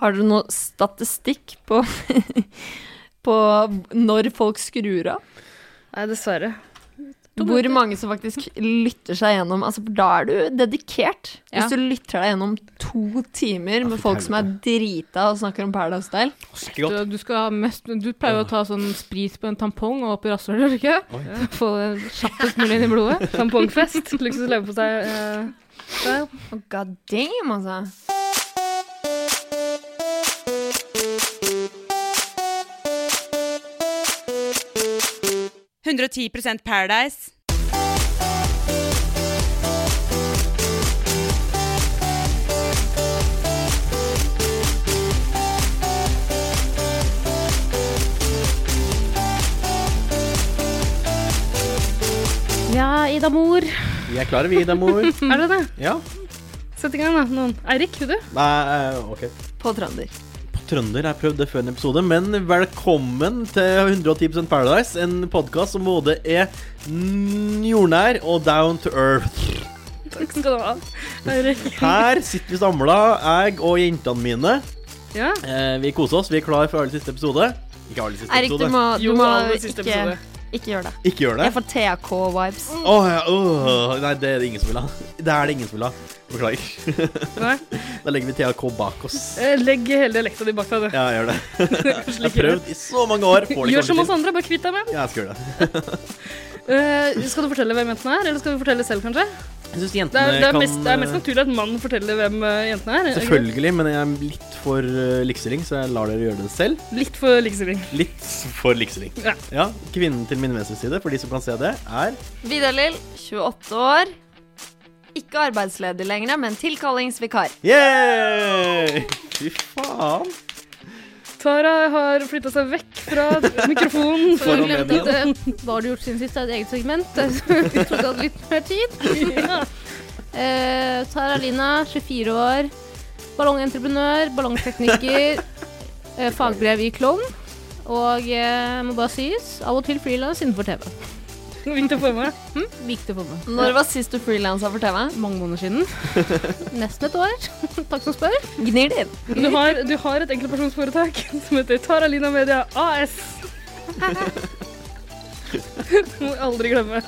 Har dere noe statistikk på, på når folk skrur av? Nei, dessverre. Hvor mange som faktisk lytter seg gjennom. Altså, for da er du dedikert. Ja. Hvis du lytter deg gjennom to timer med folk som er drita og snakker om Paradise Style. Ikke Du, godt. du, skal ha mest, du pleier jo å ta sånn sprit på en tampong og opp i rasshølet, gjør du ikke? Oi. Få det kjappest mulig inn i blodet. Tampongfest. Luksus leverpostei. eh, style. Oh, God damn, altså. Paradise. Ja, Ida Mor. Vi er klare, vi, da, mor. Er du det? Ja. Sett i gang, da. Noen. Eirik, vil du? Nei, eh, ok. På trønder. Trønder har prøvd det før en episode, men velkommen til 110 Paradise. En podkast som både er n- jordnær og down to earth. Takk skal du ha. Eirik. Her sitter vi samla, jeg og jentene mine. Ja. Eh, vi koser oss. Vi er klar for aller siste episode. Ikke aller siste Eirik, du episode. må, du må aller siste ikke, episode. ikke gjøre det. Ikke gjør det. Jeg får TK-vibes. Åh, ja, åh, nei, det er det ingen som vil ha. Det er det ingen som vil ha. Beklager. Nei. Da legger vi THK bak oss. Eh, Legg hele dialekta di bak deg, du. Ja, jeg gjør det. Jeg har Slik gjør prøvd i så mange år. Får du. det Gjør som kanskje oss andre, bare kvitt deg med den. til. Ja, jeg skal gjøre det. Eh, skal du fortelle hvem jentene er, eller skal vi fortelle selv, kanskje? Jeg synes Det jentene er, det er, kan eh, mest, det er mest naturlig at mannen forteller hvem eh, jentene er. Selvfølgelig, men jeg er litt for eh, likestilling, så jeg lar dere gjøre det selv. Litt for likestilling. Litt for likestilling. Ja. Ja, kvinnen til min venstre side, for de som kan se det, er Vidar Lill, 28 år. Ikke arbeidsledig lenger, men tilkallingsvikar. Yeah! Fy faen. Tara har flytta seg vekk fra mikrofonen. Så Foran glemte mediene. at, eh, Hva har du gjort siden sist? Det er et eget segment. så Vi trodde jeg hadde litt mer tid. Eh, Tara Lina, 24 år. Ballongentreprenør, ballongtekniker. eh, fagbrev i klovn. Og eh, må bare sies, av og til frilans innenfor TV. Vink til formen. Viktig for meg. Når var sist du frilansa for TV? Mange måneder siden. Nesten et år. Takk som spør. Gnir det inn. Du har, du har et enkeltpersonsforetak som heter Tara Lina Media AS. Du må aldri glemme.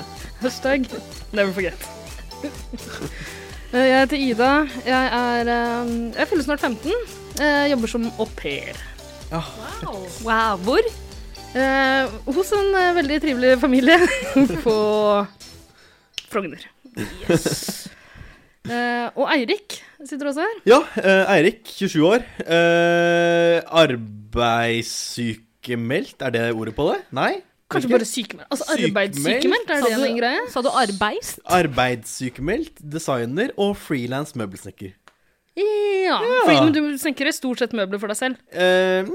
Hashtag never forget. Eh, Jeg heter Ida. Jeg er eh, Jeg fyller snart 15. Jeg jobber som au pair. Wow, hvor? Eh, Hos en eh, veldig trivelig familie på Frogner. Eh, Og Eirik sitter også her. Ja, eh, Eirik, 27 år. Eh, arbeidssykemeldt, er det ordet på det? Nei? Kanskje Ikke? bare sykemeldt. Altså Sykemeldt? arbeidssykemeldt, er det Sa du- en greie? Sa du arbeid? Arbeidssykemeldt, designer og frilans møbelsnekker. Ja, fordi, men du snekrer stort sett møbler for deg selv. Eh, mm,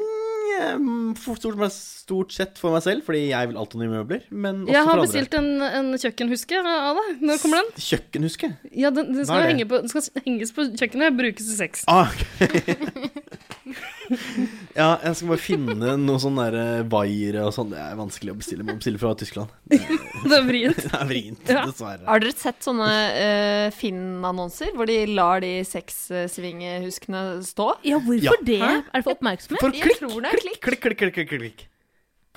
jeg, mm, for- stort, meg- stort sett for meg selv, fordi jeg vil alltid ha nye møbler. Men også Jeg har for andre. bestilt en, en kjøkkenhuske av deg. Når kommer den? Kjøkkenhuske. Ja, den, den, Hva skal er det? henge på, den skal henges på kjøkkenet, brukes til sex. Ah, ok. ja, jeg skal bare finne noe sånn derre vaiere og sånn. Det er vanskelig å bestille. Må bestille fra Tyskland. Det er vrient. Det er vrient, Ja. dessverre. Har dere sett sånne eh, Finn-annonser hvor de lar de sexsvingehuskene stå? Ja, hvorfor det? Hæ? Er det for oppmerksomhet? For Jeg klikk, tror det er klikk. klikk, klikk, klikk, klikk, klikk.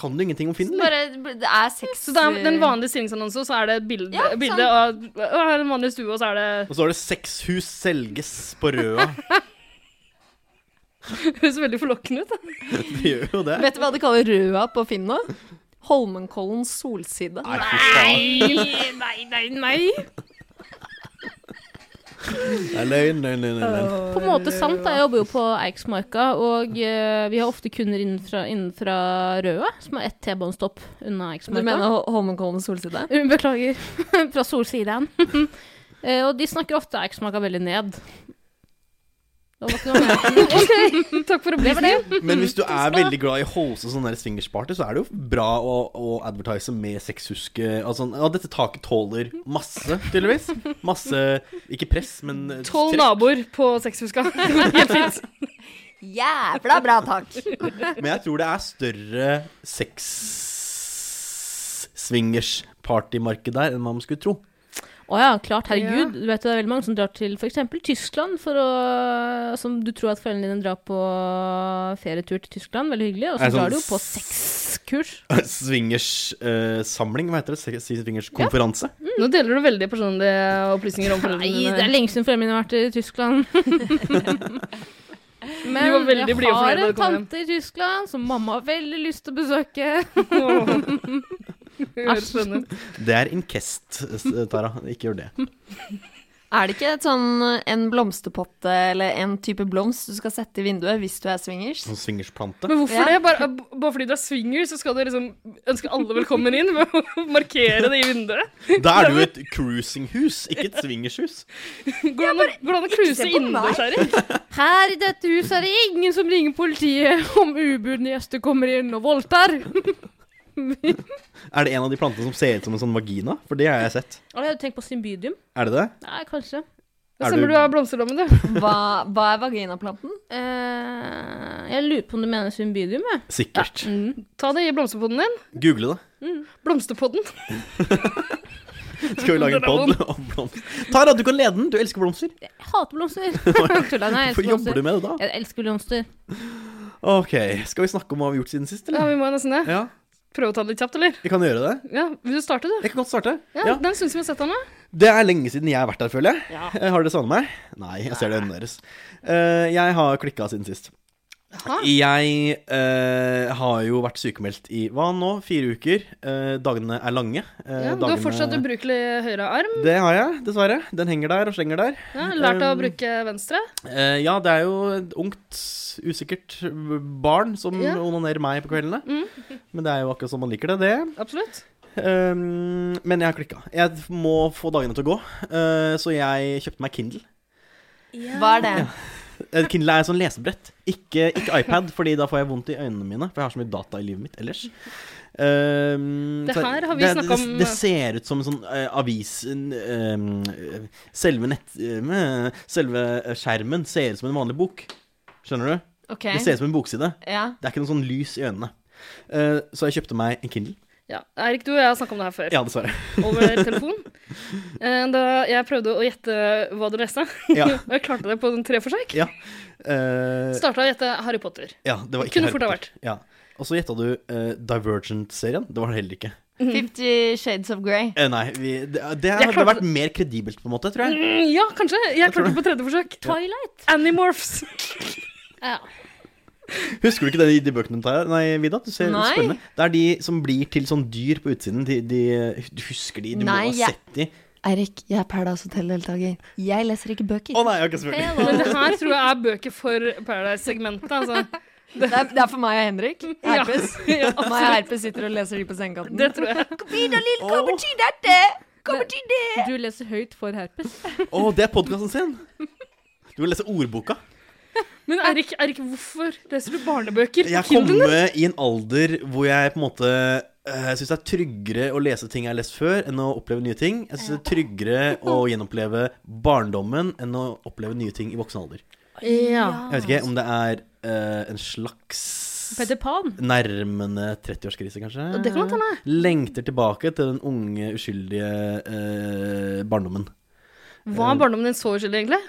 Kan du ingenting om Finn, eller? Bare, det er sex... Så det er den vanlige stillingsannonsen, og så er det et bilde, Ja, bilde av å, her er en vanlig stue, og så er det Og så har det 'Sexhus selges' på Røa. Høres veldig forlokkende ut. da. Det gjør jo det. eh, Vet du hva de kaller røda på Finn nå? Holmenkollens solside. Nei, fy faen. Nei, nei, nei. Det er løgn, løgn, løgn. løgn. På en måte sant. da. Jeg jobber jo på Eiksmarka, og eh, vi har ofte kunder innenfra, innenfra Røa, som har ett T-banestopp unna Du Eiksmarka. mener Hol- Holmenkollens solside? Uh, Beklager. Fra Solsiden. Eh, og de snakker ofte Eiksmarka veldig ned. Det var ikke noe mer. OK, takk for opplysningen. Men hvis du er veldig glad i Holse og sånne der swingersparty, så er det jo bra å, å advertise med sexhuske. Altså, ja, dette taket tåler masse, tydeligvis. Masse Ikke press, men Tolv trekk. naboer på sexhuska. Helt fint. Jævla bra, takk! Men jeg tror det er større sex swingers partymarked der enn man skulle tro. Å ja, klart. Herregud. Du vet jo det er veldig mange som drar til f.eks. Tyskland for å Som du tror at foreldrene dine drar på ferietur til Tyskland. Veldig hyggelig. Og Er så det sånn drar du jo på s- sexkurs. Swingerssamling, eh, hva heter det? Swingerskonferanse? Nå deler du veldig personlige opplysninger om foreldrene Nei, dine. det er lenge siden foreldrene mine har vært i Tyskland. Men Du var veldig blid jeg og fornøyd har da du en kom hjem. tante i Tyskland som mamma har veldig lyst til å besøke. Det høres spennende ut. Det er incest, eh, Tara. Ikke gjør det. Er det ikke et sånn, en blomsterpotte eller en type blomst du skal sette i vinduet hvis du er swingers? Sånn swingersplante. Men hvorfor Ja. det? Bare, bare fordi dere er swingers, så skal dere liksom ønske alle velkommen inn ved å markere det i vinduet? Da er det jo et cruisinghus, ikke et swingershus. Går det an å- går det an å cruise på meg. innendørs, Erik? Her i dette huset er det ingen som ringer politiet om ubudne gjester kommer inn og voldtar. Er det en av de plantene som ser ut som en sånn vagina? For det har jeg sett. Eller jeg hadde tenkt på symbidium. Er det det? Nei, kanskje. Det Er stemmer, du- du er blomsterdammen, du. Hva, hva er vaginaplanten? Eh, jeg lurer på om du mener symbidium, jeg. Sikkert. Mm. Ta det i blomsterpodden din. Google det. Blomsterpodden. Skal vi lage en pod om blomster? Tara, du kan lede den. Du elsker blomster. Jeg hater blomster. Tulla, nei, jeg Hvorfor elsker jobber blomster. du med det da? Jeg elsker blomster. Ok, Skal vi snakke om hva vi har gjort siden sist, Ja, eller? vi må nesten det. Ja, Prøve å ta det litt kjapt, eller? vi kan gjøre det. Ja, Vil du starte, du? Jeg kan godt starte. Ja, Ja. Den syns vi har sett han, da. Det er lenge siden jeg har vært der, føler jeg. Eh, Har dere savnet meg? Nei, jeg ser det i øynene deres. Eh, jeg har klikka siden sist. Jeg eh, har jo vært sykemeldt i hva nå? Fire uker. Eh, dagene er lange. Eh, Ja, du har dagene- fortsatt ubrukelig høyre arm. Det har jeg, dessverre. Den henger der og slenger der. Ja, lært å Um, bruke venstre. Eh, ja, det er jo et ungt, usikkert barn som Ja. Mm. onanerer meg på kveldene. Men det er jo akkurat som man liker det, det. Absolutt. Um, men jeg har klikka. Jeg må få dagene til å gå, eh, så jeg kjøpte meg Kindle. Hva er det? Eh, Kindle er et sånn lesebrett, ikke, ikke iPad, Fordi da får jeg vondt i øynene mine. For jeg har så mye data i livet mitt ellers. Um, Det så her har vi det- snakket om- Det, det ser ut som en sånn eh, avis en, um, eh, Selve nett... eh, selve skjermen ser ut som en vanlig bok. Skjønner du? Ok. Det ser ut som en bokside. Ja. Det er ikke noe sånn lys i øynene. Eh, så jeg kjøpte meg en Kindle. Ja, Eirik, du og jeg har snakka om det her før. Ja, dessverre. Over telefon. Eh, Da jeg prøvde å gjette hva du leste, Ja. og jeg klarte det på den tre forsøk, Eh, starta å gjette Harry Potter. ja, det var ikke Kunne Harry fort ha Potter. Ja. Og så gjetta du eh, Divergent-serien. Det var det heller ikke. Fifty Shades of Grey. Eh, nei, vi, det, Jeg det hadde klarte- vært mer kredibelt, på en måte, tror jeg. Mm, Ja, kanskje. Jeg klarte det på tredje forsøk. Twilight. Animorphs. Ja. Husker du ikke det i de bøkene, Tara? Nei, Vida? Du ser Nei. spennende. Det er de som blir til sånn dyr på utsiden. De, de, du husker de, du Nei, må ha jeg- sett de. Eirik, jeg er Paradise Hotel-deltaker. Jeg leser ikke bøker. Å nei, jeg har ikke spurt. Men det her tror jeg er bøker for Paradise-segmentet, altså. Det er, det er for meg og Henrik. Ja. Herpes. Ja, Meg og Herpes sitter og leser de på sengekanten. Det tror jeg. Å, dette! Kommer til det! Du leser høyt for herpes. å, det er podkasten sin! Du må lese ordboka. Men Eirik, Eirik, hvorfor leser du barnebøker? Jeg er Kindle? kommet i en alder hvor jeg på en måte uh, syns det er tryggere å lese ting jeg har lest før, enn å oppleve nye ting. Jeg syns det er tryggere å gjenoppleve barndommen enn å oppleve nye ting i voksen alder. Ja. Jeg vet Ah. ikke om det er eh, en slags Peter Pan. Nærmende 30-årskrise, kanskje? Det kan man ta, Lengter tilbake til den unge, uskyldige eh, barndommen. Var barndommen din så uskyldig, egentlig?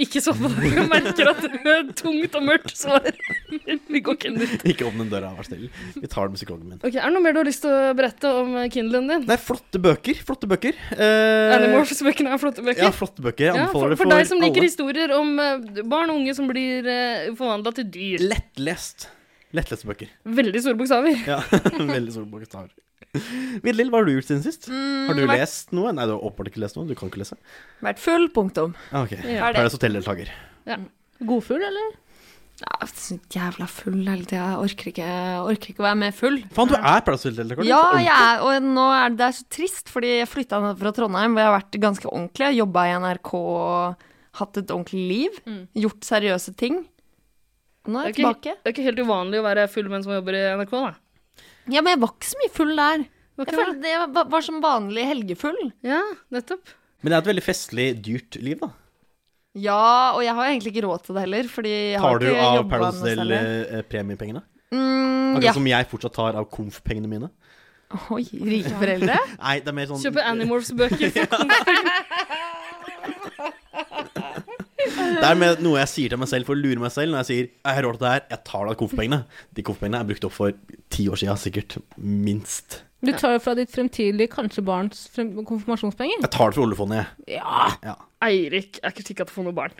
Ikke så på deg. Jeg merker at det er et tungt og mørkt svar. Vi går ikke under. Ikke åpne den døra, vær snill. Vi tar den med psykologen min. Ok, Er det noe mer du har lyst til å berette om Kindlen din? Nei, flotte bøker. Flotte bøker. Eh, Animorphs-bøkene er flotte bøker. Ja, flotte bøker. Jeg Ja, for, anbefaler for deg som alle. liker historier om eh, barn og unge som blir uh, forvandla til dyr. Lettlest. Lettleste bøker. Veldig store bokstaver. Ja, Veldig store bokstaver. Vidlil, hva har du gjort siden sist? Mm, har du vært- lest noe? Nei, du har åpenbart ikke lest noe. Du kan ikke lese. Vært full, punktum. Ah, Ok. Ja. Paradise Hotel-deltaker. Godfugl, eller? Ja, så jævla full hele tida. Jeg Orker ikke, orker ikke å være mer full. Faen, du er Paradise Hotel-deltaker. du. Ja, Ordentlig. jeg er, og nå er det, det er så trist, fordi jeg flytta ned fra Trondheim, hvor jeg har vært ganske ordentlig. Jeg Jobba i NRK, hatt et ordentlig liv, gjort seriøse ting. Nå er jeg Det er ikke, tilbake. det er ikke helt uvanlig å være full mens man jobber i NRK, da. Ja, men jeg var ikke så mye full der. Jeg Var ikke det? følte det var, var som vanlig helgefull. Ja, nettopp. Men det er et veldig festlig, dyrt liv, da. Ja, og jeg har egentlig ikke råd til det heller, fordi jeg har Tar du ikke av eh? jobba Paradise noe særlig. Hotel-premiepengene? Mm, Akkurat ja. som jeg fortsatt tar av komf-pengene mine. Oi, rike foreldre? Nei, det er mer sånn Kjøper Animorphs-bøker. Det er med noe jeg sier til meg selv for å lure meg selv. Når jeg sier jeg har råd til det her, jeg tar det av konfpengene. De konfpengene er brukt opp for ti år siden, sikkert. Minst. Du tar jo fra ditt fremtidige kanskje barns frem konfirmasjonspenger. Jeg tar det fra oljefondet, jeg. Ja! Ja. Eirik er ikke sikker på å få noe barn.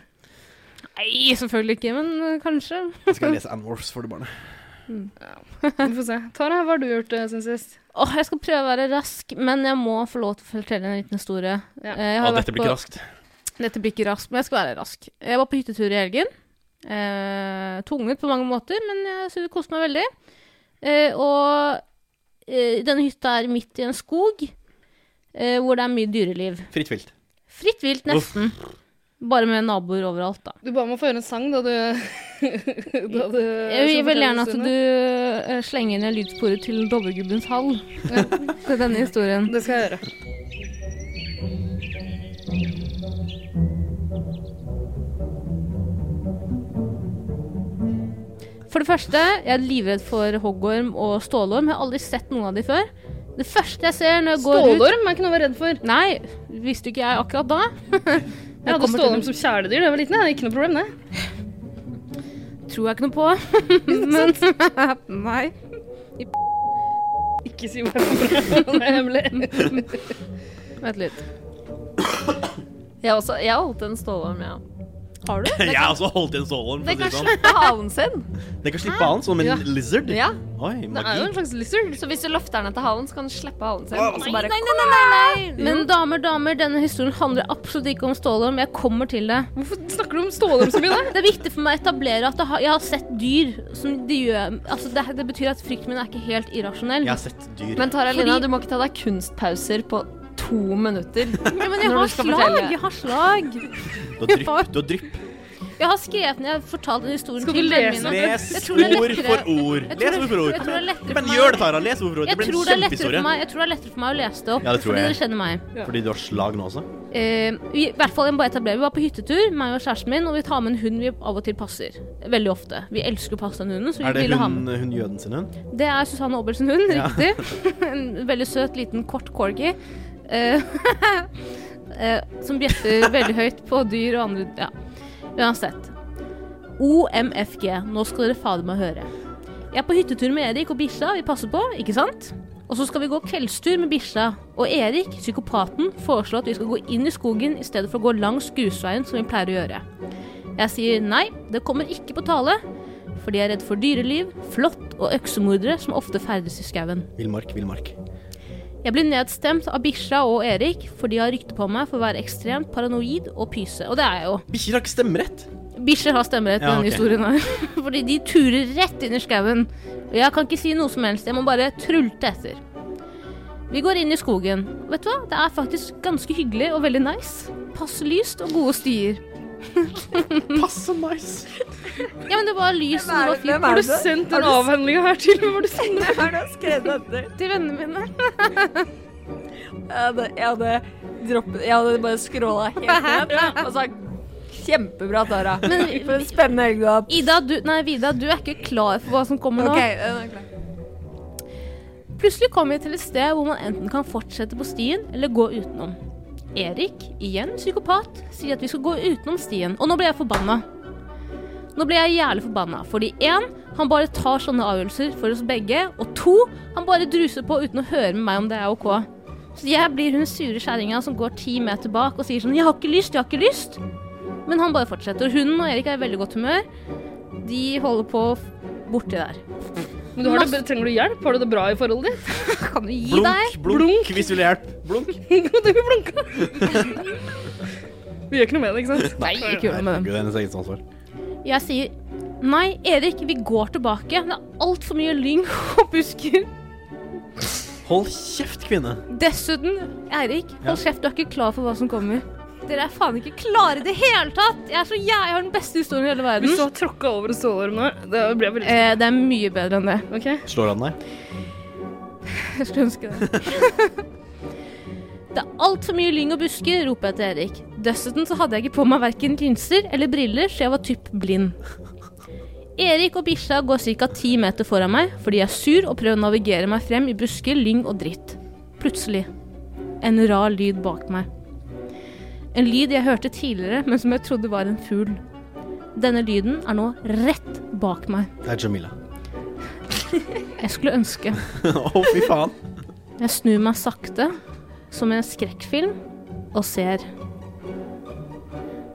Nei, selvfølgelig ikke, men øh, kanskje. Jeg skal lese Anworths for det barnet. Vi får se. Tara, hva har du gjort eh, siden sist? Åh, jeg skal prøve å være rask, men jeg må få lov til å fortelle en liten historie. Ja. Eh, jeg Ja, har vært Ah, dette blir på- ikke raskt. Dette blir ikke raskt, men jeg skal være rask. Jeg var på hyttetur i helgen. Eh, tunget på mange måter, men jeg synes det koste meg veldig. Eh, og eh, denne hytta er midt i en skog, eh, hvor det er mye dyreliv. Fritt vilt. Fritt vilt, nesten. Bare med naboer overalt, da. Du ba meg å få høre en sang da du, da du Jeg vil gjerne at Stine. du eh, slenger ned lydsporet til Dovregubbens hall til denne historien. Det skal jeg gjøre. For det første, jeg er livredd for hoggorm og stålorm. Jeg har aldri sett noen av de før. Det første jeg ser når jeg går ut Stålorm er ikke noe å være redd for. Nei, visste ikke jeg akkurat da. Jeg hadde stålorm som kjæledyr da jeg var liten. Jeg. Ikke noe problem, det. Tror jeg ikke noe på. Men Nei. Ikke si hva det er hemmelig. Vent litt. Jeg, også, jeg har holdt en stålorm, ja. Har du? Jeg har også holdt i en stålorm. Den for kan å si det sånn. slippe halen sin. Den kan slippe halen som en Ja. lizard. Ja. Oi, Det er jo magi. en slags lizard. Så hvis du løfter den etter halen, så kan den slippe halen sin. Og så Nei, bare nei, nei, nei, nei. Men damer, damer, denne historien handler absolutt ikke om stålorm. Jeg kommer til det. Hvorfor snakker du om stålorm så mye, da? Det er viktig for meg å etablere at jeg har- jeg har sett dyr som de gjør Altså, det, det betyr at frykten min er ikke helt irrasjonell. Jeg har sett dyr. Men Tara Fordi- Lina, du må ikke ta deg kunstpauser på to minutter. Ja, men jeg Når har du skal slag! fortelle- Jeg har slag! Du har drypp. Du har drypp. Jeg har skrevet ned, jeg har fortalt den historien Skal du til vennene lese mine. Les Jeg tror det er ord lettere- for ord. Jeg tror Les det- ord for jeg tror det er ord. lettere for Men meg- gjør det, Tara. Les ord for ord. Det Jeg blir tror, en det er lettere for kjempehistorie. meg, jeg tror det er lettere for meg å lese det opp, Ja, det tror fordi jeg. dere kjenner meg. Fordi du har slag nå også? Eh, vi, I hvert fall, jeg må bare etablere Vi var på hyttetur, meg og kjæresten min, og vi tar med en hund vi av og til passer. Veldig ofte. Vi elsker å passe den hunden, så vi Er det ville ha hun, med hun jøden sin hund? Det er Susanne Aabel sin hund, riktig. en veldig søt, liten, kort corgi. Eh, eh, som bjeffer veldig høyt på dyr og andre Ja. Uansett. OMFG. Nå skal dere fader meg høre. Jeg er på hyttetur med Erik og bikkja, vi passer på, ikke sant? Og så skal vi gå kveldstur med bikkja, og Erik, psykopaten, foreslår at vi skal gå inn i skogen i stedet for å gå langs grusveien, som vi pleier å gjøre. Jeg sier nei, det kommer ikke på tale, fordi jeg er redd for dyreliv, flått og øksemordere som ofte ferdes i skauen. Villmark, villmark. Jeg blir nedstemt av bikkja og Erik, for de har rykte på meg for å være ekstremt paranoid og pyse. Og det er jeg jo. Bikkjer har ikke stemmerett. Bikkjer har stemmerett i Ja, denne ok. historien her. Fordi de turer rett inn i skauen. Og jeg kan ikke si noe som helst, jeg må bare trulte etter. Vi går inn i skogen. Vet du hva? Det er faktisk ganske hyggelig og veldig nice. Passe lyst og gode stier. Passe nice. Ja, men det var lys og det var fint. Altså, Har du sendt den avhandlinga her til Har du sendt den? Hvem er det jeg skrev dette? Til vennene mine. Jeg hadde, jeg hadde droppet Jeg hadde bare skråla helt ned og sagt Kjempebra, Tara. For en spennende helg du har hatt. Ida, du, nei, Vida, du er ikke klar for hva som kommer nå. Ok, den er klar. Plutselig kommer vi til et sted hvor man enten kan fortsette på stien eller gå utenom. Erik, igjen psykopat, sier at vi skal gå utenom stien, og nå ble jeg forbanna. Nå ble jeg jævlig forbanna, fordi én, han bare tar sånne avgjørelser for oss begge, og to, han bare druser på uten å høre med meg om det er ok. Så jeg blir hun sure kjerringa som går ti meter bak og sier sånn 'Jeg har ikke lyst, jeg har ikke lyst'. Men han bare fortsetter. Hun og Erik er i veldig godt humør. De holder på f- borti der. Men du har det, trenger du hjelp? Har du det bra i forholdet ditt? Kan du gi deg? Blunk, blunk, Blunk. hvis du vil hjelp. Blunk. Du blir blunka. Vi gjør ikke noe med det, ikke sant? Nei, ikke gjør noe med dem. Herregud, det er hennes eget ansvar. Jeg sier Nei, Erik, vi går tilbake. Det er altfor mye lyng og busker. Hold kjeft, kvinne. Dessuten, Eirik, Ja. hold kjeft, du er ikke klar for hva som kommer. Dere er faen ikke klare i det hele tatt! Jeg er så jæ- jeg har den beste historien i hele Hvis du verden. har tråkka over en stålorm nå, det blir jeg veldig Eh, det er mye bedre enn det. OK? Slår han deg? Jeg skulle ønske det. det er altfor mye lyng og busker, roper jeg til Erik. Dessuten så hadde jeg ikke på meg verken linser eller briller, så jeg var typ blind. Erik og bikkja går ca. ti meter foran meg, for de er sur og prøver å navigere meg frem i busker, lyng og dritt. Plutselig. En rar lyd bak meg. En lyd jeg hørte tidligere, men som jeg trodde var en fugl. Denne lyden er nå rett bak meg. Det er Jamila. Jeg skulle ønske Å, fy faen. Jeg snur meg sakte, som i en skrekkfilm, og ser.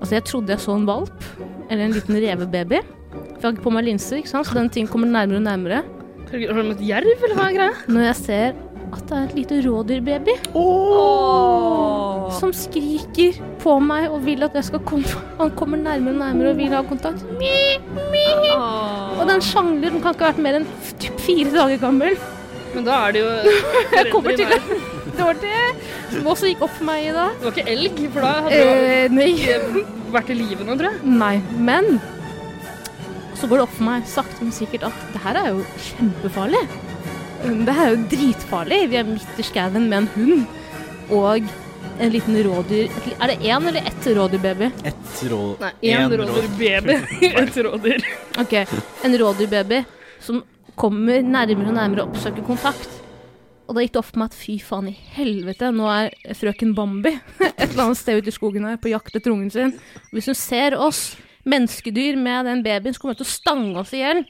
Altså, jeg trodde jeg så en valp, eller en liten revebaby. For jeg har ikke på meg linser, ikke sant? så den ting kommer nærmere og nærmere. Herregud, Har du møtt jerv, eller hva er greia? Når jeg ser at det er et lite rådyrbaby som skriker på meg og vil at jeg skal komme Han kommer nærmere og nærmere og vil ha kontakt. Mi, mi. Og den sjangler, den kan ikke ha vært mer enn f- typ fire dager gammel. Men da er det jo Jeg kommer til det. Det var det som også gikk opp for meg i dag. Det var ikke elg, for da hadde du Eh, nei. vært i live nå, tror jeg. Nei, men så går det opp for meg sakte, men sikkert at det her er jo kjempefarlig. Um, Det her er jo dritfarlig. Vi er midt i skauen med en hund og en liten rådyr... Er det én eller ett rådyrbaby? Ett råd Nei, én en rådyrbaby. Et rådyr. Ok, en rådyrbaby som kommer nærmere og nærmere og oppsøker kontakt. Og da gikk det opp for meg at fy faen i helvete, nå er frøken Bambi et eller annet sted ute i skogen her på jakt etter ungen sin. Hvis hun ser oss menneskedyr med den babyen, så kommer hun til å stange oss i hjel.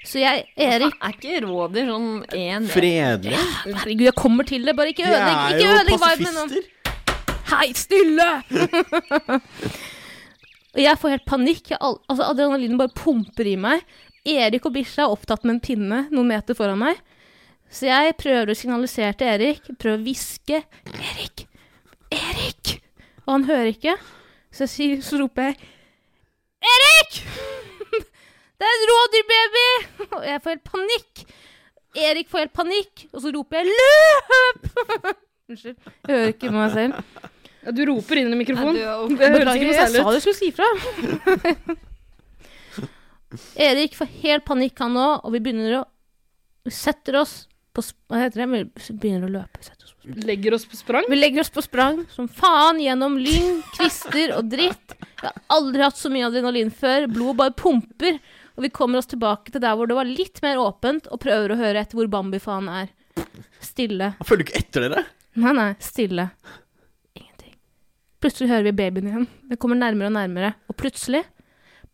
Så jeg, Erik Er ikke rådyr sånn én Fredelig. Herregud, jeg kommer til det, bare ikke De ødelegg ikke er jo ødelegg viben nå. pasifister. Hei, stille! og jeg får helt panikk. Jeg, al- altså, adrenalinen bare pumper i meg. Erik og bikkja er opptatt med en pinne noen meter foran meg. Så jeg prøver å signalisere til Erik, prøver å hviske 'Erik! Erik!' Og han hører ikke. Så, jeg sier, så roper jeg 'Erik! Det er en rådyrbaby!' Og jeg får helt panikk. Erik får helt panikk, og så roper jeg 'løp!' Unnskyld. Jeg hører ikke meg selv. Ja, du roper inn i mikrofonen. Ja, du er- det høres Beklager, ikke noe jeg særlig sa ut. du skulle si ifra. Erik får helt panikk, han òg, og vi begynner å Vi setter oss på sp- Hva heter det? Vi begynner å løpe. Setter oss på sprang. Legger oss på sprang. Vi legger oss på sprang som faen gjennom lyng, kvister og dritt. Jeg har aldri hatt så mye adrenalin før. Blodet bare pumper. Og vi kommer oss tilbake til der hvor det var litt mer åpent, og prøver å høre etter hvor Bambi faen er. Stille. Han følger ikke etter dere. Nei, nei, stille. Ingenting. Plutselig hører vi babyen igjen. Den kommer nærmere og nærmere. Og plutselig,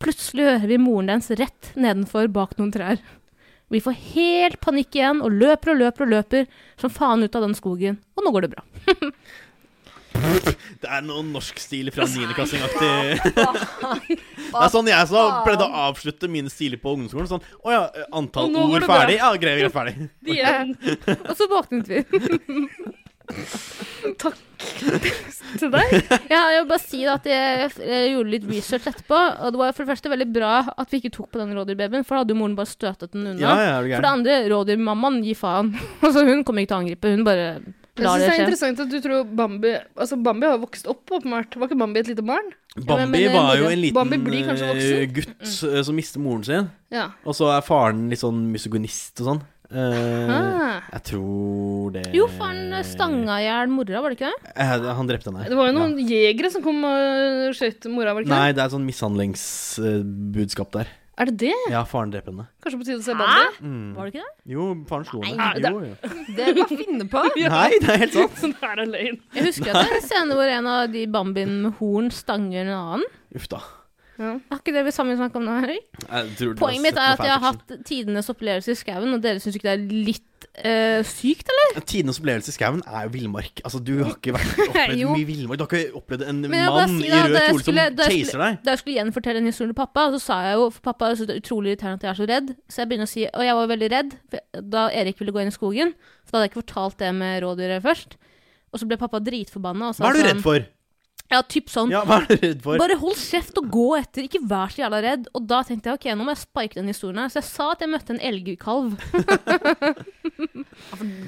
plutselig hører vi moren dens rett nedenfor bak noen trær. Vi får helt panikk igjen og løper og løper og løper som faen ut av den skogen. Og nå går det bra. Det er noe norskstil fra niendeklassingaktig. Det er sånn jeg så pleide å avslutte mine stiler på ungdomsskolen. Sånn Å ja, Og antall nå går ord det bra.» ferdig. Ja, greit, greit, ferdig. De er Og så våknet vi. til deg. Ja, jeg vil bare si da at jeg, jeg gjorde litt research etterpå, og det var for det første veldig bra at vi ikke tok på den rådyrbabyen, for da hadde jo moren bare støtet den unna. Ja, ja, er du For det gæren. andre, rådyrmammaen gir faen. Altså, hun kommer ikke til å angripe, hun bare Jeg synes det lar det er skje. interessant at du tror Bambi Altså, Bambi har vokst opp, åpenbart. Var ikke Bambi et lite barn? Bambi Ja, men, var men, jo en Bambi liten blir kanskje eh, voksen. gutt eh, som mister moren sin. Ja. Og så er faren litt sånn misogonist og sånn. Eh, Ah. jeg tror det Jo, for han stanga i hjel mora, var det ikke det? Eh, Han drepte henne. Det var jo Ja. noen jegere som kom og skjøt mora, var det ikke Nei, det er et sånn mishandlingsbudskap der. det? Er det det? Ja, faren dreper henne. Kanskje på tide å se Bambi? Mm. Var det ikke det? Jo, faren slo henne. Nei, det- Jo, jo. Det er bare å finne på. Nei, det er helt sant. Sånn her er løgn. Jeg husker at det er en scene hvor en av de bambiene med horn stanger en annen. Uff da. Har ikke det vi sammen snakket om nå, Henrik? Jeg tror du har Poenget mitt sett er noe at jeg har fanfiction. hatt tidenes opplevelse i skauen, og dere syns ikke det er litt eh, sykt, eller? Tidenes opplevelse i skauen er jo villmark. Altså, du har ikke vært opplevd Jo. mye villmark. Du har ikke opplevd en Men jeg vil bare mann si i da, rød da jeg kjole som skulle- da jeg chaser deg. Da jeg skulle gjenfortelle en historie til pappa, så sa jeg jo for pappa jeg synes det er utrolig irriterende at jeg er så redd, så jeg begynner å si Og jeg var veldig redd for da Erik ville gå inn i skogen, for da hadde jeg ikke fortalt det med rådyret først. Og så ble pappa dritforbanna. og sa Hva er du sånn- redd for? Ja, typ sånn. Ja, hva er du redd for? Bare hold kjeft og gå etter, ikke vær så jævla redd. Og da tenkte jeg ok, nå må jeg spike den historien her. Så jeg sa at jeg møtte en elgkalv.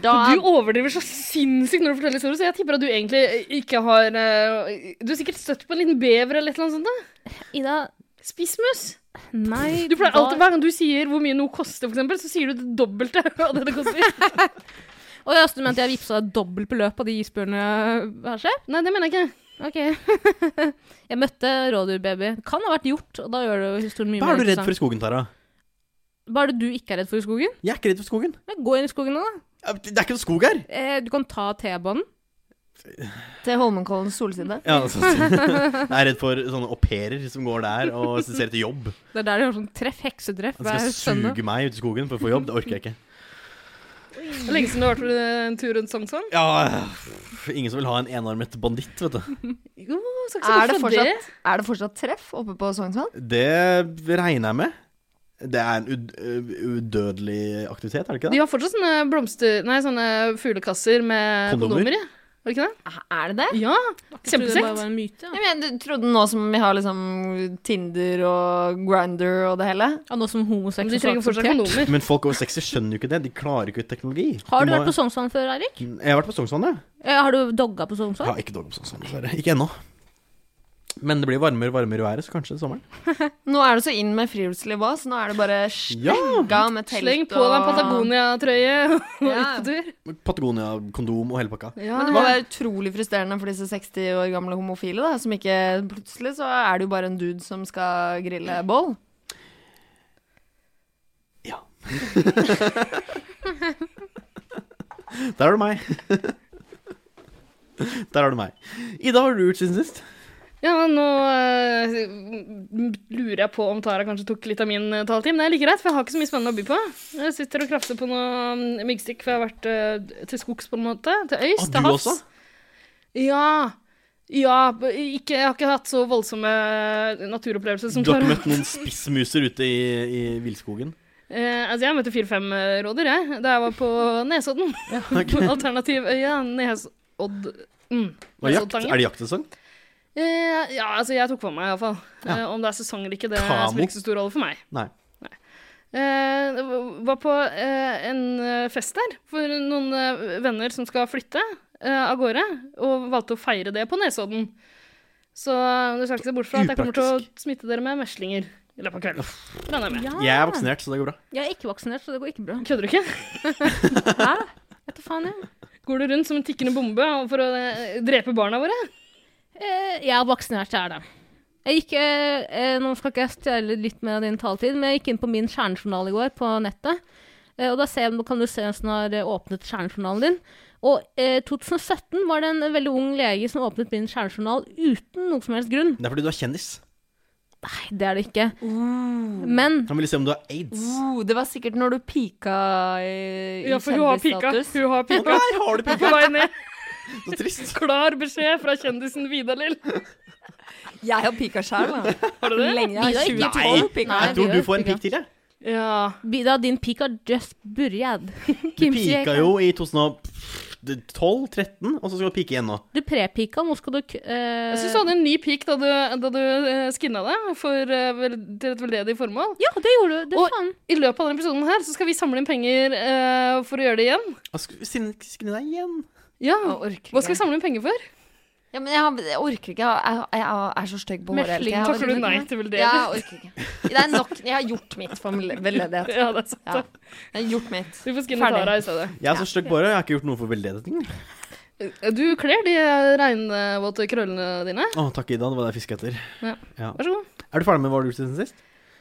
Da Du overdriver så sinnssykt når du forteller historier, så jeg tipper at du egentlig ikke har eh, Du er sikkert støtt på en liten bever eller et eller annet sånt. da. Ida, Spissmus. nei Du pleier det var- alltid, Hver gang du sier hvor mye noe koster, for eksempel, så sier du det dobbelte av det det koster. Å ja, så du mente jeg vippsa deg dobbelt beløp av de isbjørnene her, sjef? Nei, det mener jeg ikke. Ok. jeg møtte rådyrbaby. Kan ha vært gjort, og da gjør det jo historien mye Hva mer er du redd interessant. for i skogen, Tara? Hva er det du ikke er redd for i skogen? Jeg er ikke redd for skogen. Ja, Gå inn i skogen, nå, da. Ja, Det er ikke noe skog her! Eh, du kan ta T-banen. Til Holmenkollens solside. Ja, altså, jeg er redd for sånne au pairer som går der og ser etter jobb. Det er der de har sånn treff, heksetreff De hver skal søndag. suge meg ut i skogen for å få jobb. Det orker jeg ikke. Det er lenge siden du har vært eh, en tur rundt Sognsvann. Ja, ingen som vil ha en enarmet banditt, vet du. Jo, skal ikke Er se det, bort fra fortsatt, er det fortsatt treff oppe på Sognsvann? Det regner jeg med. Det er en ud ø- udødelig aktivitet, er det ikke De det? har fortsatt sånne blomster... Nei, sånne fuglekasser med Kondomer? kondomer i. Var det ikke det? Er det det? Ja, Jeg trodde det bare kjempesekt. var en myte, ja. Jeg mener, du trodde nå som vi har liksom Tinder og Grinder og det hele Ja, nå som homoseksuelt Men de trenger fortsatt kondomer. Men folk over 60 skjønner jo ikke det. De klarer ikke ut teknologi. Har du De må- vært på Sognsvann før, Eirik? Jeg har vært på Sognsvann, ja. Eh, har du dogga på Jeg Sognsvann? har ikke dårlig på Sognsvann, dessverre. Ikke ennå. Men det blir varmere og varmere i været, så kanskje sommeren. Nå er det så inn med friluftsliv òg, så nå er det bare slenga med telt Sleng på deg en Patagonia-trøye Ja. og ut på tur. Patagonia, kondom og hele pakka. Ja. Men det må være utrolig frustrerende for disse 60 år gamle homofile, da, som ikke Plutselig så er det jo bare en dude som skal grille bål. Der har du meg. Der har du meg. Ida, hva har du gjort siden sist? Ja, nå eh, lurer jeg på om Tara kanskje tok litt av min eh, taletid, men det er like greit, for jeg har ikke så mye spennende å by på. Jeg sitter og krafter på noe mm, myggstikk, for jeg har vært eh, til skogs på en måte, til øys, Ah, til du havs. også? Ja. Ja, b- ikke, jeg har ikke hatt så voldsomme eh, naturopplevelser som Du har Tara. ikke møtt noen spissmuser ute i, i villskogen? Eh, altså, jeg møtte fire-fem eh, rådyr, jeg, da jeg var på Nesodden. På Alternativøya Nesodd... Mm. Hva er jakt? Nesoddangen. Er det jaktsesong? Eh, ja, altså, jeg tok på meg, iallfall. Ja. Eh, om det er sesong eller ikke, det Kamo. spiller ikke så stor rolle for meg. Nei. Eh, v- var på eh, en eh, fest der for noen eh, venner som skal flytte eh, av gårde, og valgte å feire det på Nesodden. Så du skal ikke se bort fra at jeg kommer til å smitte dere med meslinger i løpet av kvelden. Regner jeg med. Ja. Jeg er vaksinert, så det går bra. Jeg er ikke vaksinert, så det går ikke bra. Kødder du ikke? Hæ? Vet du faen, jeg. Går du rundt som en tikkende bombe for å eh, drepe barna våre? Eh, jeg er vaksinert, jeg er det. Jeg gikk, eh, eh, nå skal ikke jeg stjele litt mer av din taletid, men jeg gikk inn på min kjernejournal i går på nettet. Eh, og da ser, jeg- kan du se hvem som har eh, åpnet kjernejournalen din. Og eh, 2017 var det en eh, veldig ung lege som åpnet min kjernejournal uten noe som helst grunn. Det er fordi du er kjendis. Nei, det er det ikke. Men Han ville se om du har aids. Mm. Uh, det var sikkert når du pika i, i Ja, for hun har pika. kjendisstatus. Hun har Å, pika. Der har du På pika! vei ned. Så trist. Klar beskjed fra kjendisen Vidar-Lill. Jeg har pika sjæl, da. Har du det? Lenge Vi har jeg ikke er Nei, 2012 pika. jeg tror du får en pika. pik til, jeg. Ja. Bida, din pik har just börjad. Du pika jo i 2012-13, og så skal du pike igjen nå. Du prepika, nå skal du k- eh, Jeg syns du hadde en ny pik da du, da du eh, skinna deg for, eh, vel- til et veldedig formål. Ja, det gjorde du. Det Og- faen. I løpet av denne episoden her så skal vi samle inn penger eh, for å gjøre det igjen. Ah, sk- Skinne skinne deg igjen. Ja. Jeg orker Hva skal vi ikke. samle inn penger for? Ja, men jeg, har, jeg orker ikke. Jeg, har- jeg, jeg er så stygg på håret. hele tiden. Mesling, Jeg har Takker du veldig- nei til veldedig? Ja, jeg orker ikke. Det er nok. Jeg har gjort mitt for veldedighet. Ja, det er sant. Ja. Jeg har gjort mitt. Vi får skinne Ferdig. Tara i stedet. Jeg er så stygg bare, jeg har ikke gjort noe for veldedigheten. Å, Du kler de regnvåte krøllene dine. takk, Ida. Det var det jeg fiska etter. Vær så god. Er du ferdig med hva du har gjort siden sist?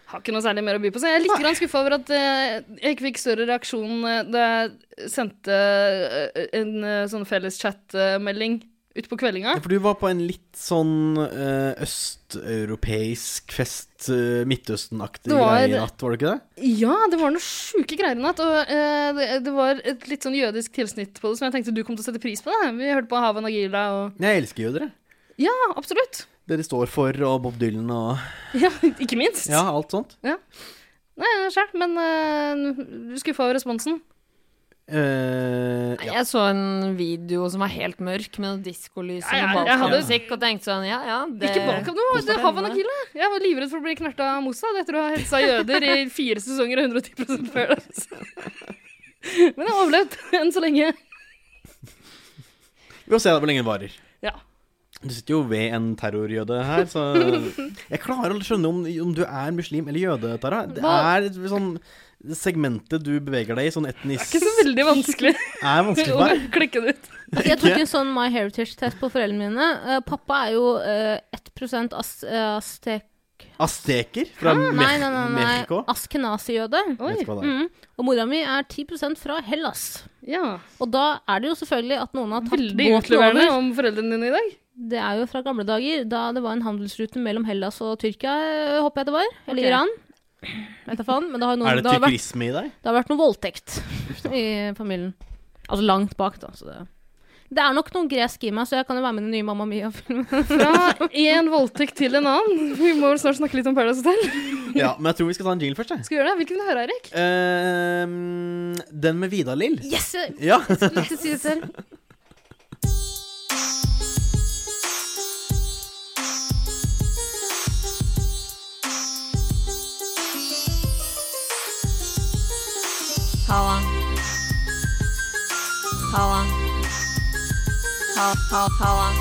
Har ikke noe særlig mer å by på, så jeg er litt grann skuffa over at eh, jeg ikke fikk større reaksjon eh, da jeg sendte eh, en eh, sånn felles chat-melding utpå kveldinga. Ja, for du var på en litt sånn eh, østeuropeisk fest, eh, Midtøsten-aktig Det var- greie i natt, var det ikke det? Ja, det var noen sjuke greier i natt. Og eh, det, det var et litt sånn jødisk tilsnitt på det som jeg tenkte du kom til å sette pris på. Da. Vi hørte på Havan Agila og Jeg elsker jøder, jeg. Ja, absolutt. Det de står for, og Bob Dylan og Ja, ikke minst. Ja, alt sånt. Nei, sjæl, men uh, skuffa over responsen. Eh, ja. Jeg så en video som var helt mørk, med noe diskolys og Ja, ja, noe jeg hadde- balkanmusikk, og tenkte sånn Ja, ja, det Ikke bak av noe. Det er Havan Agila. Jeg var livredd for å bli knerta av Mossad etter å ha hetsa jøder i fire sesonger og 110 før det. Men jeg har overlevd enn så lenge. Vi får se da hvor lenge det varer. Ja. Du sitter jo ved en terrorjøde her, så Jeg klarer å skjønne om, om du er muslim eller jøde, Tara. Det Hva- er sånn segmentet du beveger deg i, sånn etnisk Ikke så veldig vanskelig Er vanskelig å for deg. klekke det ut. Altså, jeg tok en sånn My Heritage-test på foreldrene mine. Eh, pappa er jo eh, 1 as eh, aztek... Asteker fra Ah, nei, nei, nei, nei. Mexico. Askenasi-jøde. Oi. Vet ikke hva det er. Mm. Og mora mi er 10 fra Hellas. Ja. Og da er det jo selvfølgelig at noen har tatt Veldig båten utleverende over. om foreldrene dine i dag. Det er jo fra gamle dager, da det var en handelsrute mellom Hellas og Tyrkia, øh, håper jeg det var. Eller Ok. Iran. Vet da faen. Men det har, jo noen, Er det, det har vært, tyrkerisme i deg? det har vært noe voldtekt i familien. Altså langt bak, da. Så det, det er nok noe gresk i meg, så jeg kan jo være med i den nye Mamma Mia-filmen. Fra én voldtekt til en annen. Vi må vel snart snakke litt om Paradise Hotel. Ja, men jeg tror vi skal ta en jingle først. Jeg. Skal vi gjøre det? Hvilken vil du høre, Eirik? Ehm, den med Vidar-Lill. Yes! jeg Ja. skulle ikke si det selv. Halla. Halla. Ha- ha- Halla.